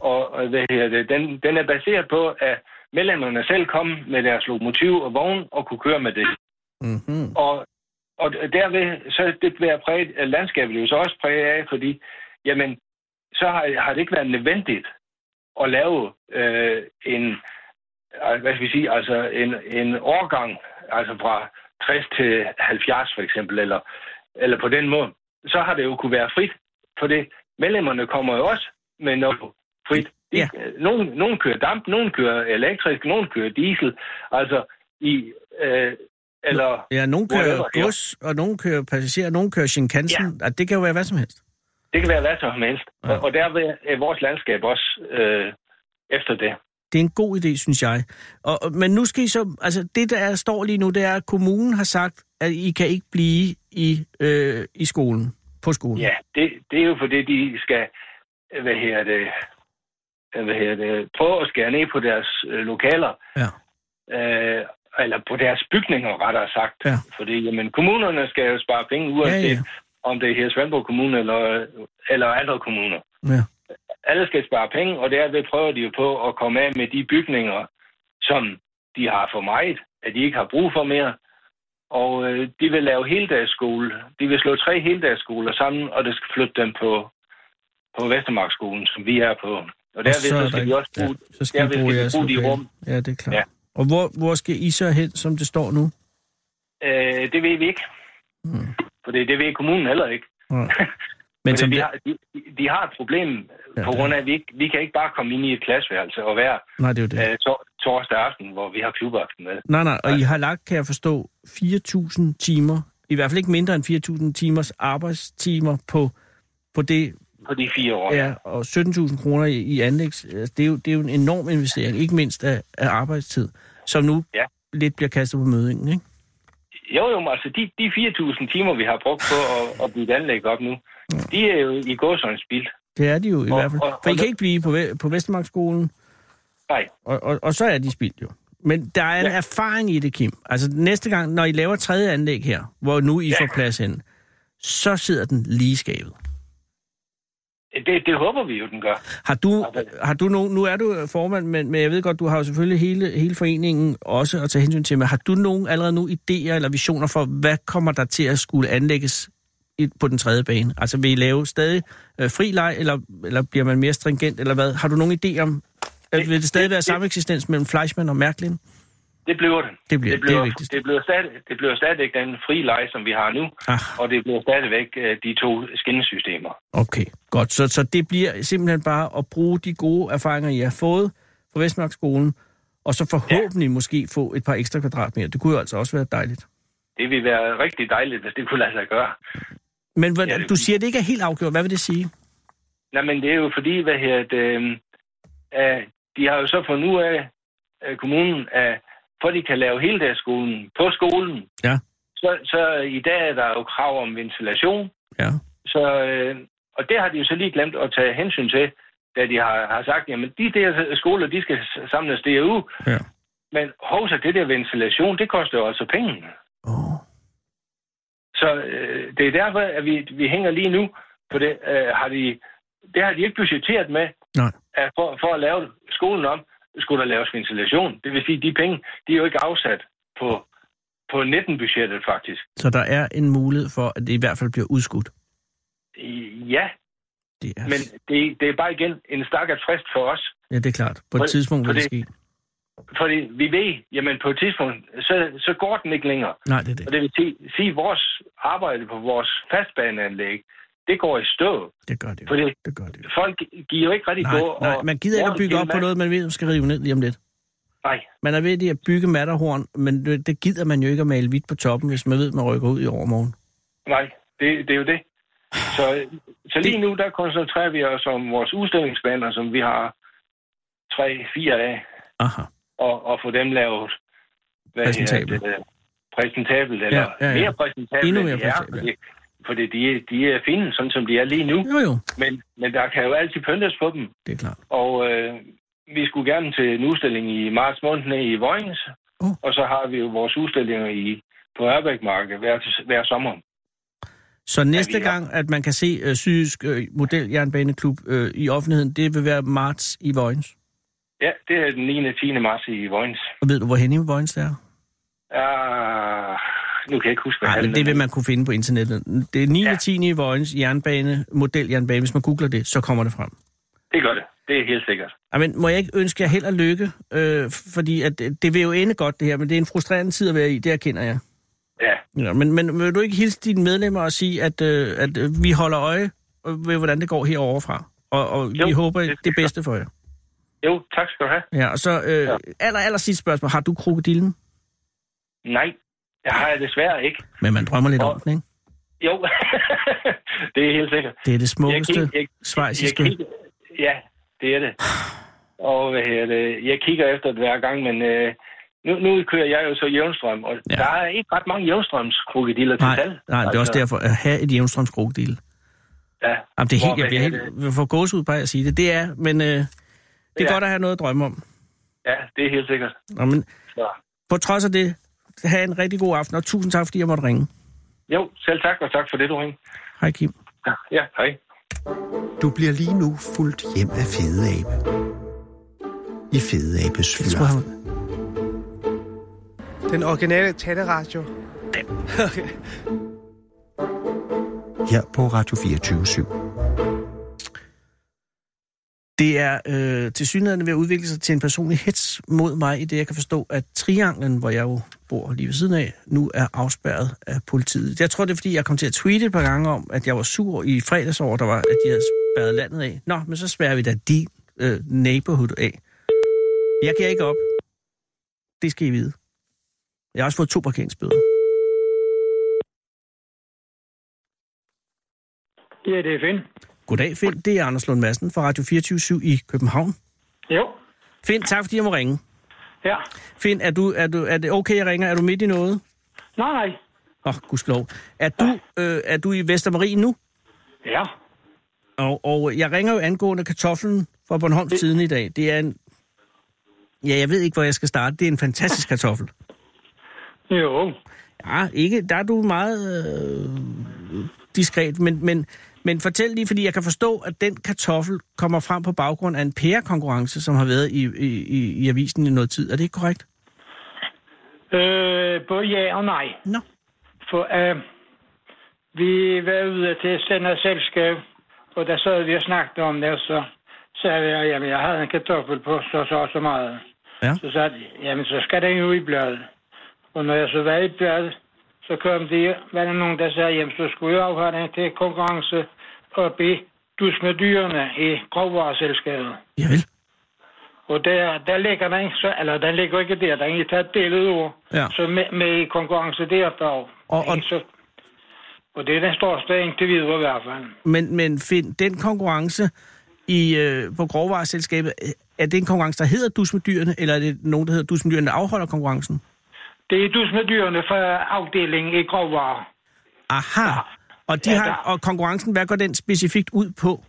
Speaker 8: Og og hvad hedder det, den, den er baseret på, at medlemmerne selv kom med deres lokomotiv og vogn og kunne køre med det.
Speaker 4: Mm-hmm.
Speaker 8: Og, og derved, så er det bliver præget, at landskabet jo så også præget af, fordi, jamen, så har, har det ikke været nødvendigt at lave øh, en, øh, hvad skal vi sige, altså en, en årgang, altså fra 60 til 70 for eksempel, eller, eller på den måde, så har det jo kunne være frit, for det medlemmerne kommer jo også med noget frit. De,
Speaker 4: Ja.
Speaker 8: ja. nogen, nogen kører damp, nogen kører elektrisk, nogen kører diesel, altså i, øh, eller
Speaker 4: Ja, nogen kører
Speaker 8: Whatever, ja.
Speaker 4: gods, og nogen kører passagerer, og nogen kører Shinkansen, ja. og det kan jo være hvad som helst.
Speaker 8: Det kan være hvad som helst.
Speaker 4: Ja.
Speaker 8: Ja. Og, og derved er vores landskab også øh, efter det.
Speaker 4: Det er en god idé, synes jeg. Og, og- men nu skal I så... Altså, det der er- står lige nu, det er, at kommunen har sagt, at I kan ikke blive i, øh, i skolen, på skolen.
Speaker 8: Ja, det, det er jo fordi, de skal øh, hvad her det, øh, hvad her det, prøve at skære ned på deres øh, lokaler.
Speaker 4: Ja.
Speaker 8: Øh, eller på deres bygninger, rettere sagt.
Speaker 4: Ja.
Speaker 8: Fordi jamen, kommunerne skal jo spare penge, uanset
Speaker 4: Ja,
Speaker 8: ja, ja.
Speaker 4: ja.
Speaker 8: om det er her i Svendborg Kommune eller, eller andre kommuner.
Speaker 4: Ja.
Speaker 8: alle skal spare penge, og derved prøver de jo på at komme af med de bygninger, som de har for meget, at de ikke har brug for mere. Og øh, de vil lave heldagsskole. De vil slå tre heldagsskoler sammen, og det skal flytte dem på, på Vestermarksskolen, som vi er på. Og
Speaker 4: Og
Speaker 8: derved
Speaker 4: er
Speaker 8: så
Speaker 4: der
Speaker 8: skal
Speaker 4: ikke-
Speaker 8: de også bruge...
Speaker 4: Ja, så skal I
Speaker 8: derved
Speaker 4: bruge
Speaker 8: skal de
Speaker 4: jeres
Speaker 8: bruge de
Speaker 4: lokale.
Speaker 8: rum.
Speaker 4: Ja, det er klart. Ja.
Speaker 8: Ja.
Speaker 4: Og hvor, hvor skal I så hen, som det står nu?
Speaker 8: Ja. Øh, det ved vi ikke.
Speaker 4: Mm.
Speaker 8: For det, det ved kommunen heller ikke.
Speaker 4: Ja. Men
Speaker 8: Men
Speaker 4: som
Speaker 8: de,
Speaker 4: det,
Speaker 8: har, de, de har et problem
Speaker 4: Ja,
Speaker 8: ja, på
Speaker 4: det-
Speaker 8: grund af, at vi, ikke, vi kan ikke bare komme ind i et klasseværelse og være
Speaker 4: nej, det er jo det.
Speaker 8: øh, tor- torsdag aften, hvor vi har klubaften med.
Speaker 4: Nej, nej, og I har lagt, kan jeg forstå, 4.000 timer, i hvert fald ikke mindre end 4.000 timers arbejdstimer på, på det,
Speaker 8: på de fire år.
Speaker 4: ja, og 17.000 kroner i, i anlægs, altså, det er, jo, det er jo en enorm investering, ikke mindst af, af arbejdstid, som nu
Speaker 8: Ja.
Speaker 4: lidt bliver kastet på mødingen, ikke?
Speaker 8: Jo, jo, men altså de, de 4.000 timer, vi har brugt på at, at blive et anlæg op nu, de er jo i gåsøjens spild.
Speaker 4: Det er de jo i
Speaker 8: Og-
Speaker 4: hvert fald.
Speaker 8: og-
Speaker 4: For I
Speaker 8: og-
Speaker 4: kan ikke blive på, Ve- på Vestermarksskolen,
Speaker 8: Nej,
Speaker 4: og, og, og så er de spildt jo. Men der er en ja.
Speaker 8: Ja.
Speaker 4: erfaring i det, Kim. Altså næste gang, når I laver tredje anlæg her, hvor nu I ja. får plads hen, så sidder den lige i skabet.
Speaker 8: Det, det håber vi jo, den gør.
Speaker 4: Har du,
Speaker 8: Altså-
Speaker 4: har du nogen, nu er du formand, men, men jeg ved godt, du har jo selvfølgelig hele, hele foreningen også at tage hensyn til, men har du nogen allerede nu idéer eller visioner for, hvad kommer der til at skulle anlægges i- på den tredje bane? Altså vil I lave stadig øh, fri leg, eller, eller bliver man mere stringent, eller hvad? Har du nogen idé om, at vil det stadig
Speaker 8: det-
Speaker 4: være
Speaker 8: det-
Speaker 4: sameksistens mellem Fleischmann og Mærklin?
Speaker 8: Det bliver den.
Speaker 4: Det bliver-
Speaker 8: det bliver,
Speaker 4: det er vigtigst.
Speaker 8: det bliver, stadig, det bliver stadigvæk den frie leje, som vi har nu,
Speaker 4: Ah.
Speaker 8: og det bliver stadigvæk øh, de to skinnesystemer.
Speaker 4: Okay, godt. Så, så det bliver simpelthen bare at bruge de gode erfaringer, I har fået fra Vestmarkskolen, og så forhåbentlig ja. måske få et par ekstra kvadratmeter. Det kunne jo altså også være dejligt.
Speaker 8: Det ville være rigtig dejligt, hvis det kunne lade sig gøre.
Speaker 4: Men hvordan,
Speaker 8: Ja,
Speaker 4: ja,
Speaker 8: det-
Speaker 4: du siger, at det ikke er helt afgjort. Hvad vil det sige?
Speaker 8: Nej, men det er jo fordi, hvad her, at, øh, øh, de har jo så fundet ud af øh, kommunen, at for at de kan lave hele deres skolen på skolen,
Speaker 4: Ja.
Speaker 8: så, så i dag er der jo krav om ventilation,
Speaker 4: Ja.
Speaker 8: Så, øh, og det har de jo så lige glemt at tage hensyn til, da de har, har sagt, jamen de der skoler, de skal s- samles derude.
Speaker 4: Ja.
Speaker 8: Men hov, så det der ventilation, det koster jo altså penge.
Speaker 4: Oh.
Speaker 8: Så øh, det er derfor, at vi, vi hænger lige nu, for det, øh, har de, det har de ikke budgetteret med,
Speaker 4: Nej.
Speaker 8: at for, for at lave skolen om, skulle der laves ventilation. Det vil sige, at de penge, de er jo ikke afsat på, på 19-budgettet faktisk.
Speaker 4: Så der er en mulighed for, at det i hvert fald bliver udskudt.
Speaker 8: I- Ja,
Speaker 4: Det er,
Speaker 8: men det, det er bare igen en stakkert frist for os,
Speaker 4: ja, det er klart. På et
Speaker 8: for-
Speaker 4: tidspunkt
Speaker 8: for
Speaker 4: vil det ske.
Speaker 8: det- Fordi vi ved, jamen på et tidspunkt, så, så går den ikke længere.
Speaker 4: Nej, det er det.
Speaker 8: Og det vil sige- sige, at vores arbejde på vores fastbaneanlæg, det går i stå.
Speaker 4: Det gør det jo.
Speaker 8: Fordi
Speaker 4: Det gør det jo.
Speaker 8: folk giver jo ikke rigtig
Speaker 4: Nej,
Speaker 8: gå.
Speaker 4: nej,
Speaker 8: og-
Speaker 4: man gider ikke at bygge op på noget, man ved, man skal rive ned lige om lidt.
Speaker 8: Nej,
Speaker 4: Man er ved det at bygge matterhorn, men det det gider man jo ikke at male hvidt på toppen, hvis man ved, at man rykker ud i overmorgen.
Speaker 8: nej, det, det er jo det. Så, så lige nu, der koncentrerer vi os om vores udstillingsbaner, som vi har tre, fire af,
Speaker 4: Aha.
Speaker 8: og, og få dem lavet hvad
Speaker 4: Præsentabelt.
Speaker 8: hedder det, øh, præsentabelt, eller
Speaker 4: ja, ja.
Speaker 8: mere præsentabelt,
Speaker 4: Endnu
Speaker 8: end
Speaker 4: mere
Speaker 8: de er,
Speaker 4: præsentabelt,
Speaker 8: fordi, fordi de, er- de er fine, sådan som de er lige nu.
Speaker 4: Jo, jo.
Speaker 8: Men, men der kan jo altid pyntes på dem.
Speaker 4: Det er klart.
Speaker 8: Og øh, vi skulle gerne til en udstilling i marts måned nede i Vojens.
Speaker 4: Uh.
Speaker 8: Og så har vi jo vores udstillinger i, på Ørbækmarkedet hver, hver sommer.
Speaker 4: Så næste
Speaker 8: vi er-
Speaker 4: gang, at man kan se øh, Syrisk øh, Model Jernbaneklub øh, i offentligheden, det vil være marts i Vojens.
Speaker 8: Ja, det er den 9. og 10. marts i Vojens.
Speaker 4: Og ved du, hvor hen i Vojens det er?
Speaker 8: Ah, nu kan jeg ikke huske, hvad
Speaker 4: Nej, men
Speaker 8: hallen
Speaker 4: det
Speaker 8: er.
Speaker 4: vil man kunne finde på internettet. Det er 9. Ja.
Speaker 8: Ja.
Speaker 4: 10. i Vojens jernbane, model jernbane. Hvis man googler det, så kommer det frem.
Speaker 8: Det gør det. Det er helt sikkert.
Speaker 4: Ej, men må jeg ikke ønske jer held og lykke? Øh, fordi at, det det vil jo ende godt, det her, men det er en frustrerende tid at være i, det erkender jeg.
Speaker 8: Ja,
Speaker 4: Ja, men, men vil du ikke hilse dine medlemmer og sige, at, øh, at øh, vi holder øje øh, ved, hvordan det går herovre fra? Og, og vi
Speaker 8: Jo,
Speaker 4: håber
Speaker 8: det skal
Speaker 4: det
Speaker 8: vi
Speaker 4: bedste for jer.
Speaker 8: jo, tak skal du have.
Speaker 4: Ja, og så øh,
Speaker 8: Ja.
Speaker 4: aller, aller sidste spørgsmål. Har du krokodillen?
Speaker 8: Nej, det har jeg desværre ikke.
Speaker 4: Men man drømmer lidt
Speaker 8: Og-
Speaker 4: om den, ikke?
Speaker 8: Jo, det er helt sikkert.
Speaker 4: Det er det
Speaker 8: Jeg
Speaker 4: smukkeste
Speaker 8: kig- jeg-
Speaker 4: svejsiske.
Speaker 8: Jeg kigger, ja, det er det. Og hvad hedder det, jeg kigger efter det hver gang, men øh, nu, nu kører jeg jo så jævnstrøm, og
Speaker 4: Ja.
Speaker 8: ja. der er ikke ret mange jævnstrømskrokodiller til
Speaker 4: Nej,
Speaker 8: salg.
Speaker 4: nej, det er også
Speaker 8: Altså,
Speaker 4: derfor at have et jævnstrømskrokodil.
Speaker 8: Ja.
Speaker 4: Jamen, det er helt,
Speaker 8: Hvor
Speaker 4: jeg bliver
Speaker 8: vil jeg
Speaker 4: helt, jeg får gåsehud bare af at sige det. Det er, men øh, det er
Speaker 8: Ja.
Speaker 4: godt at have noget at drømme om.
Speaker 8: ja, det er helt sikkert.
Speaker 4: Nå, men
Speaker 8: Så.
Speaker 4: på trods af det, have en rigtig god aften, og tusind tak, fordi jeg måtte ringe.
Speaker 8: Jo, selv tak, og tak for det, du ringede.
Speaker 4: Hej Kim.
Speaker 8: Ja, hej.
Speaker 3: Du bliver lige nu fuldt hjem af Fede Abe. I Fede Abes
Speaker 4: Jeg tror,
Speaker 3: fyraften.
Speaker 4: han...
Speaker 9: Den originale taleradio.
Speaker 3: Her på Radio 24 7.
Speaker 4: Det er øh, til synligheden ved at udvikle sig til en personlig hets mod mig, i det jeg kan forstå, at Trianglen, hvor jeg jo bor lige ved siden af, nu er afspærret af politiet. Jeg tror, det er, fordi jeg kom til at tweete et par gange om, at jeg var sur i fredags over, der var, at de havde spærret landet af. Nå, men så spærrer vi da din øh, neighborhood af. Jeg giver ikke op. Det skal I vide. Jeg har også fået to parkeringsbøder.
Speaker 10: Ja, det er Finn.
Speaker 4: Goddag, Finn. Det er Anders Lund Madsen fra Radio 24 i København.
Speaker 10: Jo,
Speaker 4: Finn, tak fordi jeg må ringe.
Speaker 10: ja.
Speaker 4: Finn, er, du, er, du, er det okay, jeg ringer? Er du midt i noget?
Speaker 10: Nej, nej.
Speaker 4: Åh, oh, gudskelov. Er du, øh, er du i Vestermarie nu?
Speaker 10: Ja,
Speaker 4: Og, og jeg ringer jo angående kartoflen fra Bornholms det... siden i dag. Det er en... Ja, jeg ved ikke, hvor jeg skal starte. Det er en fantastisk kartoffel.
Speaker 10: jo.
Speaker 4: Ja, ikke. Der er du meget... Øh, diskret, men, men, men fortæl lige, fordi jeg kan forstå, at den kartoffel kommer frem på baggrund af en pærekonkurrence, som har været i, i, i, i avisen i noget tid. Er det ikke korrekt?
Speaker 10: Øh, både ja og nej.
Speaker 4: Nå.
Speaker 10: For øh, vi var ude til Sender Selskab, og der sad vi og snakkede om det, og så sagde jeg, jamen jeg havde en kartoffel på så så og så meget.
Speaker 4: Ja.
Speaker 10: Så sagde de, jamen så skal den jo i bladet. Og når jeg så var i bladet, så kom de, var der nogen, der sagde, jamen så skulle jeg jo have den til konkurrence op i Dus med dyrene i grovvareselskabet.
Speaker 4: Ja vel.
Speaker 10: Og der, der ligger den, så, eller den ligger ikke der, den er taget billede over,
Speaker 4: Ja.
Speaker 10: så med, med i konkurrence derfra.
Speaker 4: Og- og-
Speaker 10: så, og det er den største indtil videre i hvert fald.
Speaker 4: Men, men find den konkurrence i, øh, på grovvareselskabet, øh, er det en konkurrence, der hedder Dus med dyrene, eller er det nogen, der hedder Dus med dyrene, der afholder konkurrencen?
Speaker 10: Det er dus med dyrene fra afdelingen i grovvarer.
Speaker 4: Aha. Og, de
Speaker 10: Ja,
Speaker 4: har,
Speaker 10: der-
Speaker 4: og konkurrencen, hvad går den specifikt ud på?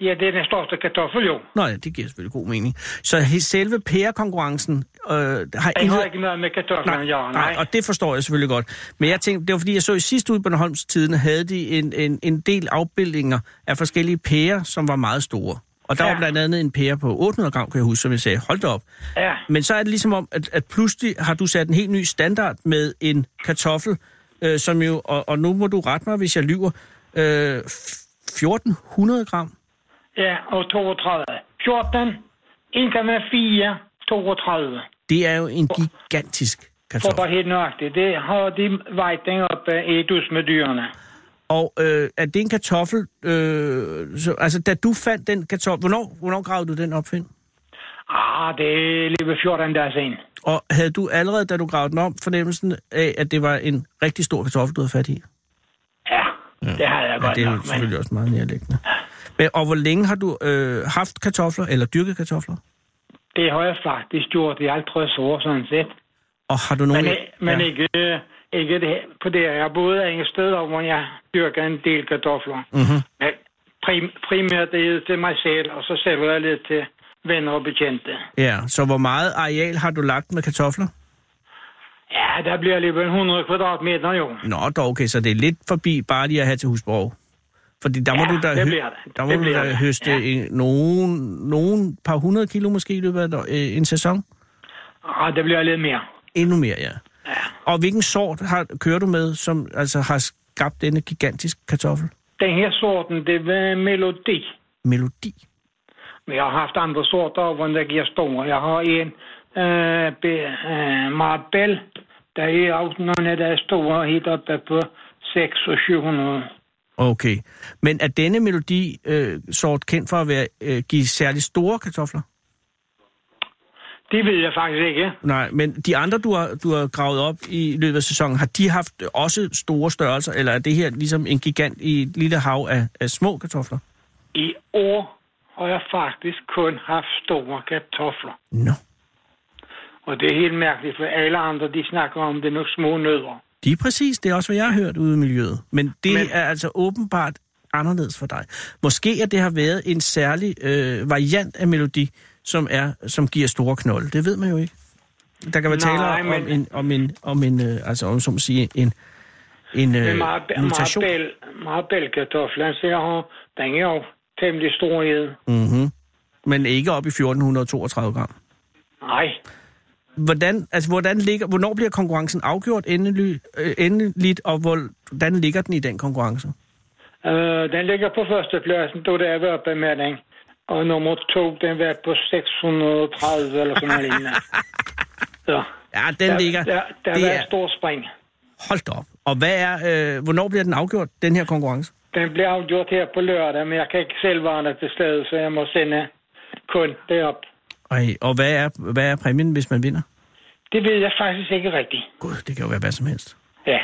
Speaker 10: Ja, det er den største kartoffel, jo.
Speaker 4: Nå ja, det giver selvfølgelig god mening. Så he- selve pærekonkurrencen øh, har
Speaker 10: Den har ikke noget med kartoflen at gøre, nej.
Speaker 4: og det forstår jeg selvfølgelig godt. Men jeg tænkte, det var fordi, jeg så i sidste ude på Bornholms Tiden, havde de en, en, en del afbildninger af forskellige pærer, som var meget store. Og der ja.
Speaker 10: Ja.
Speaker 4: var blandt andet en pære på 800 gram, kan jeg huske, som jeg sagde, hold da op.
Speaker 10: Ja,
Speaker 4: Men så er det ligesom om, at, at pludselig har du sat en helt ny standard med en kartoffel, øh, som jo, og, og nu må du rette mig, hvis jeg lyver, øh, f- 1400 gram.
Speaker 10: ja, og 32. 14, 1,4, 32.
Speaker 4: Det er jo en gigantisk
Speaker 10: For at
Speaker 4: kartoffel.
Speaker 10: være helt nøjagtigt, det har de vejting op i dus med dyrene.
Speaker 4: Og øh, er det en kartoffel, øh, så, altså da du fandt den kartoffel, hvornår, hvornår gravede du den op, Finn?
Speaker 10: Ah, det er lige ved 14 dage siden.
Speaker 4: Og havde du allerede, da du gravede den om, fornemmelsen af, at det var en rigtig stor kartoffel, du havde fat i?
Speaker 10: Ja, det har jeg
Speaker 4: Mm. Ja,
Speaker 10: godt
Speaker 4: det er jo
Speaker 10: nok. Men
Speaker 4: selvfølgelig også meget nærliggende. Men, og hvor længe har du øh, haft kartofler, eller dyrket kartofler?
Speaker 10: det har jeg faktisk gjort i 50 år, sådan set.
Speaker 4: Og har du nogen...
Speaker 10: Men, i- men ja. ikke, øh, ikke det, her- på det her. Jeg boede en sted, hvor jeg dyrker en del kartofler.
Speaker 4: Mm-hmm.
Speaker 10: Men prim, primært det er til mig selv, og så sælger jeg lidt til venner og bekendte.
Speaker 4: Ja, så hvor meget areal har du lagt med kartofler?
Speaker 10: Ja, der bliver alligevel 100 kvadratmeter jo.
Speaker 4: Nå, dog, okay, så det er lidt forbi bare lige at have til Husborg. Fordi der må
Speaker 10: Ja,
Speaker 4: du da,
Speaker 10: det
Speaker 4: hø-
Speaker 10: bliver det.
Speaker 4: der må
Speaker 10: Det
Speaker 4: du
Speaker 10: bliver
Speaker 4: da
Speaker 10: det,
Speaker 4: høste
Speaker 10: ja.
Speaker 4: en, nogen, nogen par hundrede kilo måske i løbet af et år- øh, en sæson.
Speaker 10: Ah, der bliver lidt mere.
Speaker 4: Endnu mere, ja. Og hvilken sort har, kører du med, som altså har skabt denne gigantiske kartoffel?
Speaker 10: Den her sorten, det var melodi.
Speaker 4: Melodi.
Speaker 10: Men jeg har haft andre sorter, hvor der giver store. Jeg har en øh, be- øh, Marabel, der er også nogle, der er store, helt oppe på 6 og 700.
Speaker 4: Okay. Men er denne melodi-sort øh, sort kendt for at være, øh, give særligt store kartofler?
Speaker 10: Det ved jeg faktisk ikke.
Speaker 4: Nej, men de andre, du har, du har gravet op i løbet af sæsonen, har de haft også store størrelser, eller er det her ligesom en gigant i et lille hav af, af små kartofler?
Speaker 10: I år har jeg faktisk kun haft store kartofler.
Speaker 4: Nå, no.
Speaker 10: Og det er helt mærkeligt, for alle andre, de snakker om, det er nogle små nødder.
Speaker 4: det er præcis, det er også, hvad jeg har hørt ude i miljøet. Men det men...
Speaker 10: Men-
Speaker 4: er altså åbenbart anderledes for dig. Måske at det har været en særlig øh, variant af melodi, som, er, som giver store knolde. Det ved man jo ikke. Der kan være
Speaker 10: Nej,
Speaker 4: tale om,
Speaker 10: men-
Speaker 4: om en, om en, om en øh, altså om, som sige, en, en øh,
Speaker 10: Men
Speaker 4: mutation.
Speaker 10: Marabel-kartoflen, så jeg har, den er jo temmelig stor i det.
Speaker 4: Mm-hmm. Men ikke op i 1432 gram.
Speaker 10: Nej,
Speaker 4: Hvordan, altså, hvordan ligger, hvornår bliver konkurrencen afgjort endelig, øh, endeligt, og hvor, hvordan ligger den i den konkurrence?
Speaker 10: øh, den ligger på førstepladsen, da det er ved oppe med den. Og nummer to, den var på 630 eller sådan noget lignende. Så,
Speaker 4: Ja, den
Speaker 10: der,
Speaker 4: ligger...
Speaker 10: der, der
Speaker 4: det
Speaker 10: var
Speaker 4: er,
Speaker 10: et stort spring.
Speaker 4: hold da op. Og hvad er, øh, hvornår bliver den afgjort, den her konkurrence?
Speaker 10: Den bliver afgjort her på lørdag, men jeg kan ikke selv være der til stede, så jeg må sende kun derop.
Speaker 4: Ej, og hvad er, hvad er præmien, hvis man vinder?
Speaker 10: Det ved jeg faktisk ikke rigtigt.
Speaker 4: Gud, det kan jo være hvad som helst.
Speaker 10: Ja.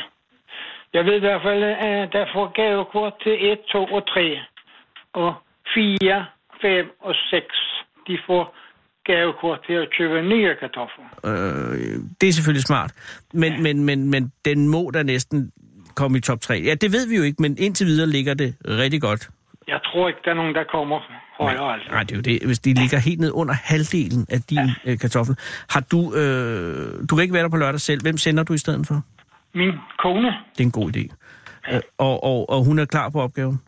Speaker 10: Jeg ved i hvert fald, at der får gavekort til 1, 2 og 3. Og 4, 5 og 6, de får gavekort til at købe nye kartofler.
Speaker 4: Øh, det er selvfølgelig smart. Men, ja. men, men, men den må da næsten komme i top 3. Ja, det ved vi jo ikke, men indtil videre ligger det rigtig godt.
Speaker 10: Jeg tror ikke, der er nogen, der kommer højere. Altså.
Speaker 4: Nej, det er jo det. Hvis de ligger helt ned under halvdelen af din øh, kartoffel. Har du... Øh, du kan ikke være der på lørdag selv. Hvem sender du i stedet for?
Speaker 10: Min kone,
Speaker 4: Det er en god idé. Øh, og, og, og hun er klar på opgaven.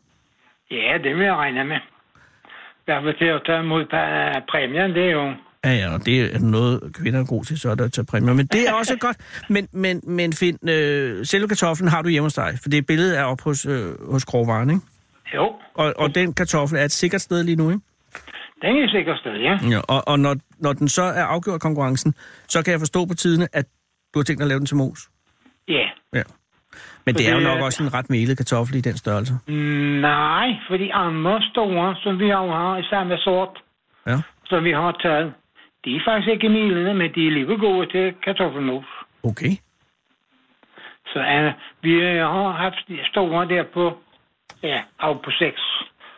Speaker 10: Ja, det vil jeg regne med. I hvert fald til at tage imod pa- præmien, det er jo...
Speaker 4: Ja, ja, og det er noget, kvinder er gode til, så er der at tage præmier. Men det er også godt. Men, men, men Finn, øh, selve kartoflen har du hjemme hos dig, for det billede er oppe hos, øh, hos Krogvaren, ikke?
Speaker 10: Jo,
Speaker 4: Og, og den kartoffel er et sikkert sted lige nu, ikke?
Speaker 10: den er sikkert sted, ja.
Speaker 4: Ja, og, og når, når den så er afgjort konkurrencen, så kan jeg forstå på tiderne, at du har tænkt dig at lave den til mos.
Speaker 10: Ja.
Speaker 4: Ja. Men det er jo
Speaker 10: Fordi,
Speaker 4: nok
Speaker 10: øh,
Speaker 4: også en ret melet kartoffel i den størrelse.
Speaker 10: Nej, for de andre store, som vi også har i samme sort,
Speaker 4: Ja.
Speaker 10: som vi har taget, de er faktisk ikke milende, men de er lige gode til kartoffelmos.
Speaker 4: Okay.
Speaker 10: Så uh, vi øh, har haft de store der på, ja, af på 6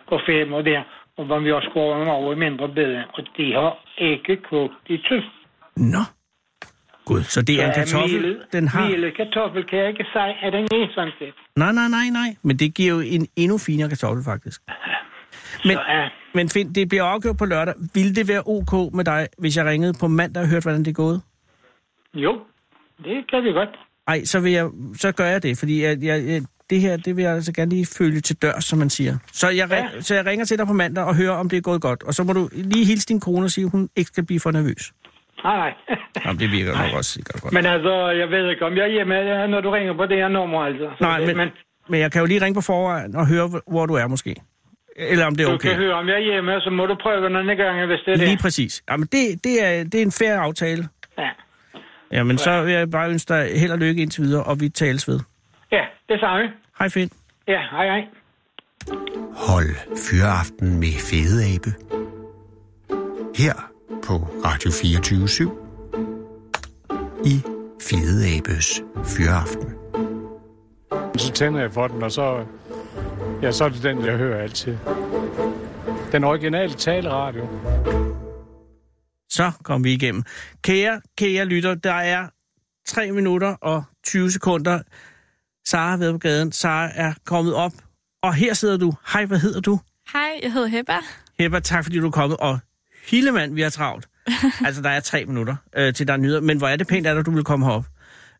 Speaker 10: og 5 og der, og hvor vi har skåret dem over i mindre bedre, og de har ikke kogt i tøft.
Speaker 4: Nå. Gud, så det er en kartoffel, den har...
Speaker 10: Mile kartoffel kan jeg ikke sige, at den er sådan set.
Speaker 4: Nej, nej, nej, nej. Men det giver jo en endnu finere kartoffel, faktisk. Men,
Speaker 10: Så, uh,
Speaker 4: men Finn, det bliver afgjort på lørdag. Vil det være ok med dig, hvis jeg ringede på mandag og hørte, hvordan det er gået?
Speaker 10: jo, det kan vi godt.
Speaker 4: Ej, så, vil jeg, så gør jeg det, fordi jeg, jeg, jeg- det her det vil jeg altså gerne lige følge til dør, som man siger. Så jeg, ja.
Speaker 10: Ja.
Speaker 4: så jeg ringer til dig på mandag og hører, om det er gået godt. Og så må du lige hilse din kone og sige, at hun ikke skal blive for nervøs.
Speaker 10: Nej, nej.
Speaker 4: Jamen, det virker nok også sikkert godt. Men,
Speaker 10: Men altså, jeg ved ikke, om jeg er hjemme, øh, når du ringer på det her nummer, altså. Så
Speaker 4: Nej,
Speaker 10: det-
Speaker 4: men- Men jeg kan jo lige ringe på forvejen og høre, hvor- hvor du er måske. Eller om det er
Speaker 10: du
Speaker 4: okay.
Speaker 10: kan høre, om jeg er hjemme, så må du prøve den anden gang, hvis det er
Speaker 4: Lige
Speaker 10: det.
Speaker 4: præcis. Jamen, det, det, er, det er en fair aftale.
Speaker 10: Ja.
Speaker 4: Jamen, så vil jeg bare ønske dig held og lykke indtil videre, og vi tales ved.
Speaker 10: ja, det samme.
Speaker 4: Hej, Finn.
Speaker 10: Ja, hej hej.
Speaker 3: Hold fyreaften med Fede Abe. Her på Radio 24 i Fede Abes Fyreaften.
Speaker 9: Så tænder jeg for den, og så, ja, så er det den, jeg hører altid. Den originale taleradio.
Speaker 4: Så kom vi igennem. Kære, kære lytter, der er 3 minutter og 20 sekunder. Sara har været på gaden. Sara er kommet op. Og her sidder du. Hej, hvad hedder du?
Speaker 11: Hej, jeg hedder Hebba.
Speaker 4: Hebber, tak fordi du er kommet. Og Hillemand, vi har travlt. Altså, der er tre minutter øh, til der er nyheder. Men hvor er det pænt, at du vil komme herop.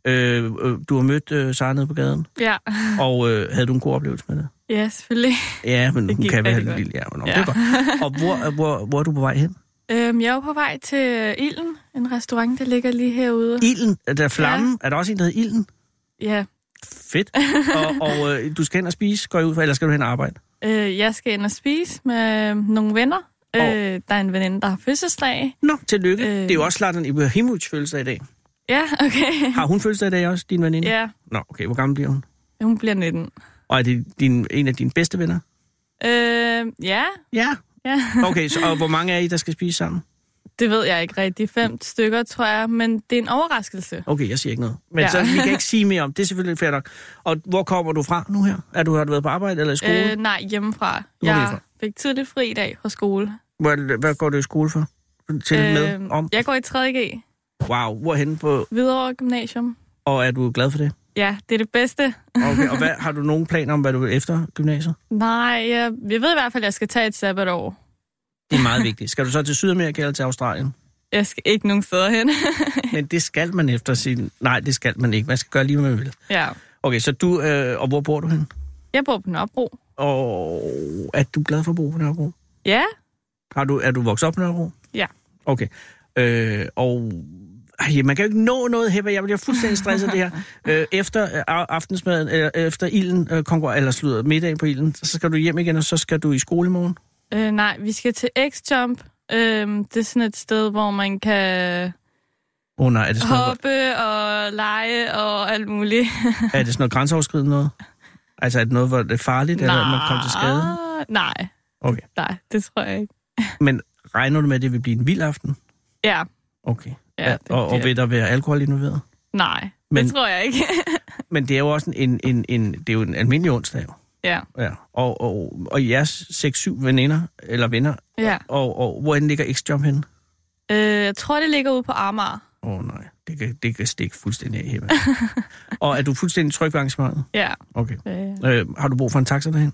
Speaker 4: Øh, øh, du har mødt øh, Sara nede på gaden,
Speaker 11: Ja,
Speaker 4: og øh, havde du en god oplevelse med det?
Speaker 11: ja selvfølgelig.
Speaker 4: Ja, men
Speaker 11: Det
Speaker 4: hun
Speaker 11: gik
Speaker 4: kan være
Speaker 11: rigtig
Speaker 4: lidt
Speaker 11: godt.
Speaker 4: lille. Ja, men, ja.
Speaker 11: Ja.
Speaker 4: Det er godt. Og hvor, hvor, hvor er du på vej hen?
Speaker 11: Øhm, jeg er jo på vej til Ilden, en restaurant, der ligger lige herude.
Speaker 4: Ilden, er der flammen? Ja. Er der også en, der hedder Ilden?
Speaker 11: Ja,
Speaker 4: Fedt. Og, og øh, du skal hen og spise, går jeg ud fra, eller skal du hen og arbejde?
Speaker 11: øh, jeg skal ind og spise med øh, nogle venner. Øh, der er en veninde, der har fødselsdag.
Speaker 4: Nå, tillykke. Øh.
Speaker 11: Øh.
Speaker 4: Det er jo også Zlatan Ibrahimovic fødselsdag i dag.
Speaker 11: Ja, okay.
Speaker 4: Har hun fødselsdag i dag også, din veninde?
Speaker 11: Ja,
Speaker 4: Nå, okay, hvor gammel bliver hun?
Speaker 11: hun bliver 19.
Speaker 4: Og er det din, en af dine bedste venner?
Speaker 11: Øh, ja,
Speaker 4: Ja.
Speaker 11: ja.
Speaker 4: Okay, så, og hvor mange er I, der skal spise sammen?
Speaker 11: Det ved jeg ikke rigtigt. Fem stykker, tror jeg, men det er en overraskelse.
Speaker 4: Okay, jeg siger ikke noget. Men ja.
Speaker 11: Ja.
Speaker 4: så vi kan ikke sige mere om det. Det er selvfølgelig fair nok. Og hvor kommer du fra nu her? Er du, har du været på arbejde eller i skole?
Speaker 11: Øh, nej, hjemmefra.
Speaker 4: Hvor er det
Speaker 11: Jeg fik tidligt fri i dag fra skole. Øhm,
Speaker 4: Hvad, hvad går du i skole for? Til øh, med om?
Speaker 11: Jeg går i 3.G,
Speaker 4: Wow, hvorhen på?
Speaker 11: Hvidovre Gymnasium.
Speaker 4: Og er du glad for det?
Speaker 11: Ja, det er det bedste.
Speaker 4: Okay, og hvad, har du nogen planer om, hvad du vil efter gymnasiet?
Speaker 11: Nej, jeg, jeg ved i hvert fald, at jeg skal tage et sabbatår.
Speaker 4: Det er meget vigtigt. Skal du så til Sydamerika eller til Australien?
Speaker 11: Jeg skal ikke nogen steder hen.
Speaker 4: Men det skal man efter sin... Nej, det skal man ikke. Man skal gøre lige, hvad man vil.
Speaker 11: ja.
Speaker 4: Okay, så du... Øh, og hvor bor du hen?
Speaker 11: Jeg bor på Nørrebro.
Speaker 4: Og er du glad for at bo på Nørrebro?
Speaker 11: Ja,
Speaker 4: Har du, er du vokset op på Nørrebro?
Speaker 11: Ja.
Speaker 4: Okay. Øh, og... Ej, man kan jo ikke nå noget her, jeg bliver fuldstændig stresset af det her. Øh, efter øh, af- aftensmaden, eller efter ilden, øh, konkur- eller slutter middagen på ilden, så skal du hjem igen, og så skal du i skole i morgen.
Speaker 11: øh, nej, vi skal til X-Jump. Øhm, det er sådan et sted, hvor man kan
Speaker 4: Åh oh, nej, er det, sådan noget,
Speaker 11: hoppe og lege og alt muligt.
Speaker 4: er det sådan noget grænseoverskridende noget? Altså er det noget, hvor det er farligt, eller at man kommer til skade?
Speaker 11: Nej,
Speaker 4: Okay.
Speaker 11: nej, det tror jeg ikke.
Speaker 4: Men regner du med, at det vil blive en vild aften?
Speaker 11: Ja,
Speaker 4: Okay.
Speaker 11: Ja, det-
Speaker 4: og, og
Speaker 11: det-
Speaker 4: vil der være alkohol involveret?
Speaker 11: nej,
Speaker 4: Men-
Speaker 11: det tror jeg ikke.
Speaker 4: Men det er jo også en, en, en, det er jo en almindelig onsdag. jo.
Speaker 11: ja,
Speaker 4: Ja. Og, og, og jeres 6-7 veninder, eller venner,
Speaker 11: ja.
Speaker 4: og, og hvorhen ligger X-Jump henne?
Speaker 11: Øh, jeg tror, det ligger ude på Amager.
Speaker 4: Åh oh, nej, det kan, det kan stikke fuldstændig af, Heba. og er du fuldstændig tryg ved arrangementet?
Speaker 11: Ja.
Speaker 4: Okay.
Speaker 11: Øh,
Speaker 4: Øh, har du brug for en taxa derhen?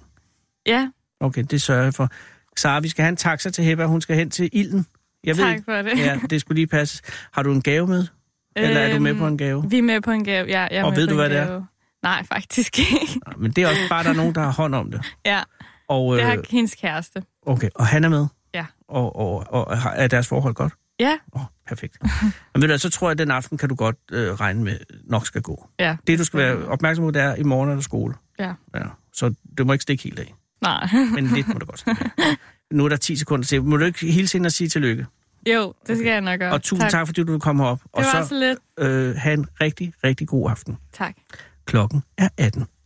Speaker 11: ja,
Speaker 4: Okay, det sørger jeg for. Sara, vi skal have en taxa til Heba, hun skal hen til Ilden. Jeg ved
Speaker 11: tak
Speaker 4: ikke.
Speaker 11: for det.
Speaker 4: Ja, det skulle lige passe. Har du en gave med? Eller er du med
Speaker 11: Øhm,
Speaker 4: på en gave?
Speaker 11: Vi er med på en gave, ja. Jeg er
Speaker 4: Og
Speaker 11: med
Speaker 4: ved
Speaker 11: på
Speaker 4: du,
Speaker 11: en
Speaker 4: hvad det er?
Speaker 11: gave. Nej, faktisk ikke.
Speaker 4: Nej, Men det er også bare, der er nogen, der har hånd om det.
Speaker 11: ja,
Speaker 4: Og,
Speaker 11: det
Speaker 4: øh,
Speaker 11: har hendes kæreste.
Speaker 4: okay, og han er med?
Speaker 11: Ja.
Speaker 4: Og, og, og har- er deres forhold godt?
Speaker 11: Ja,
Speaker 4: Åh, oh, perfekt. Men ved du, hvad, så tror jeg, at den aften kan du godt øh, regne med, nok skal gå.
Speaker 11: ja,
Speaker 4: Det, du skal være opmærksom på, det er, at i morgen er der skole.
Speaker 11: ja.
Speaker 4: Ja. Så det må ikke stikke helt af.
Speaker 11: Nej.
Speaker 4: Men lidt må du godt stikke af. Nu er der 10 sekunder til. Må du ikke hilse hende og sige tillykke?
Speaker 11: Jo, det skal jeg nok gøre.
Speaker 4: Og tusind tak, tak fordi du kom herop.
Speaker 11: Det
Speaker 4: og
Speaker 11: var
Speaker 4: så
Speaker 11: så lidt.
Speaker 4: øh, have en rigtig, rigtig god aften.
Speaker 11: Tak.
Speaker 4: Klokken er 18.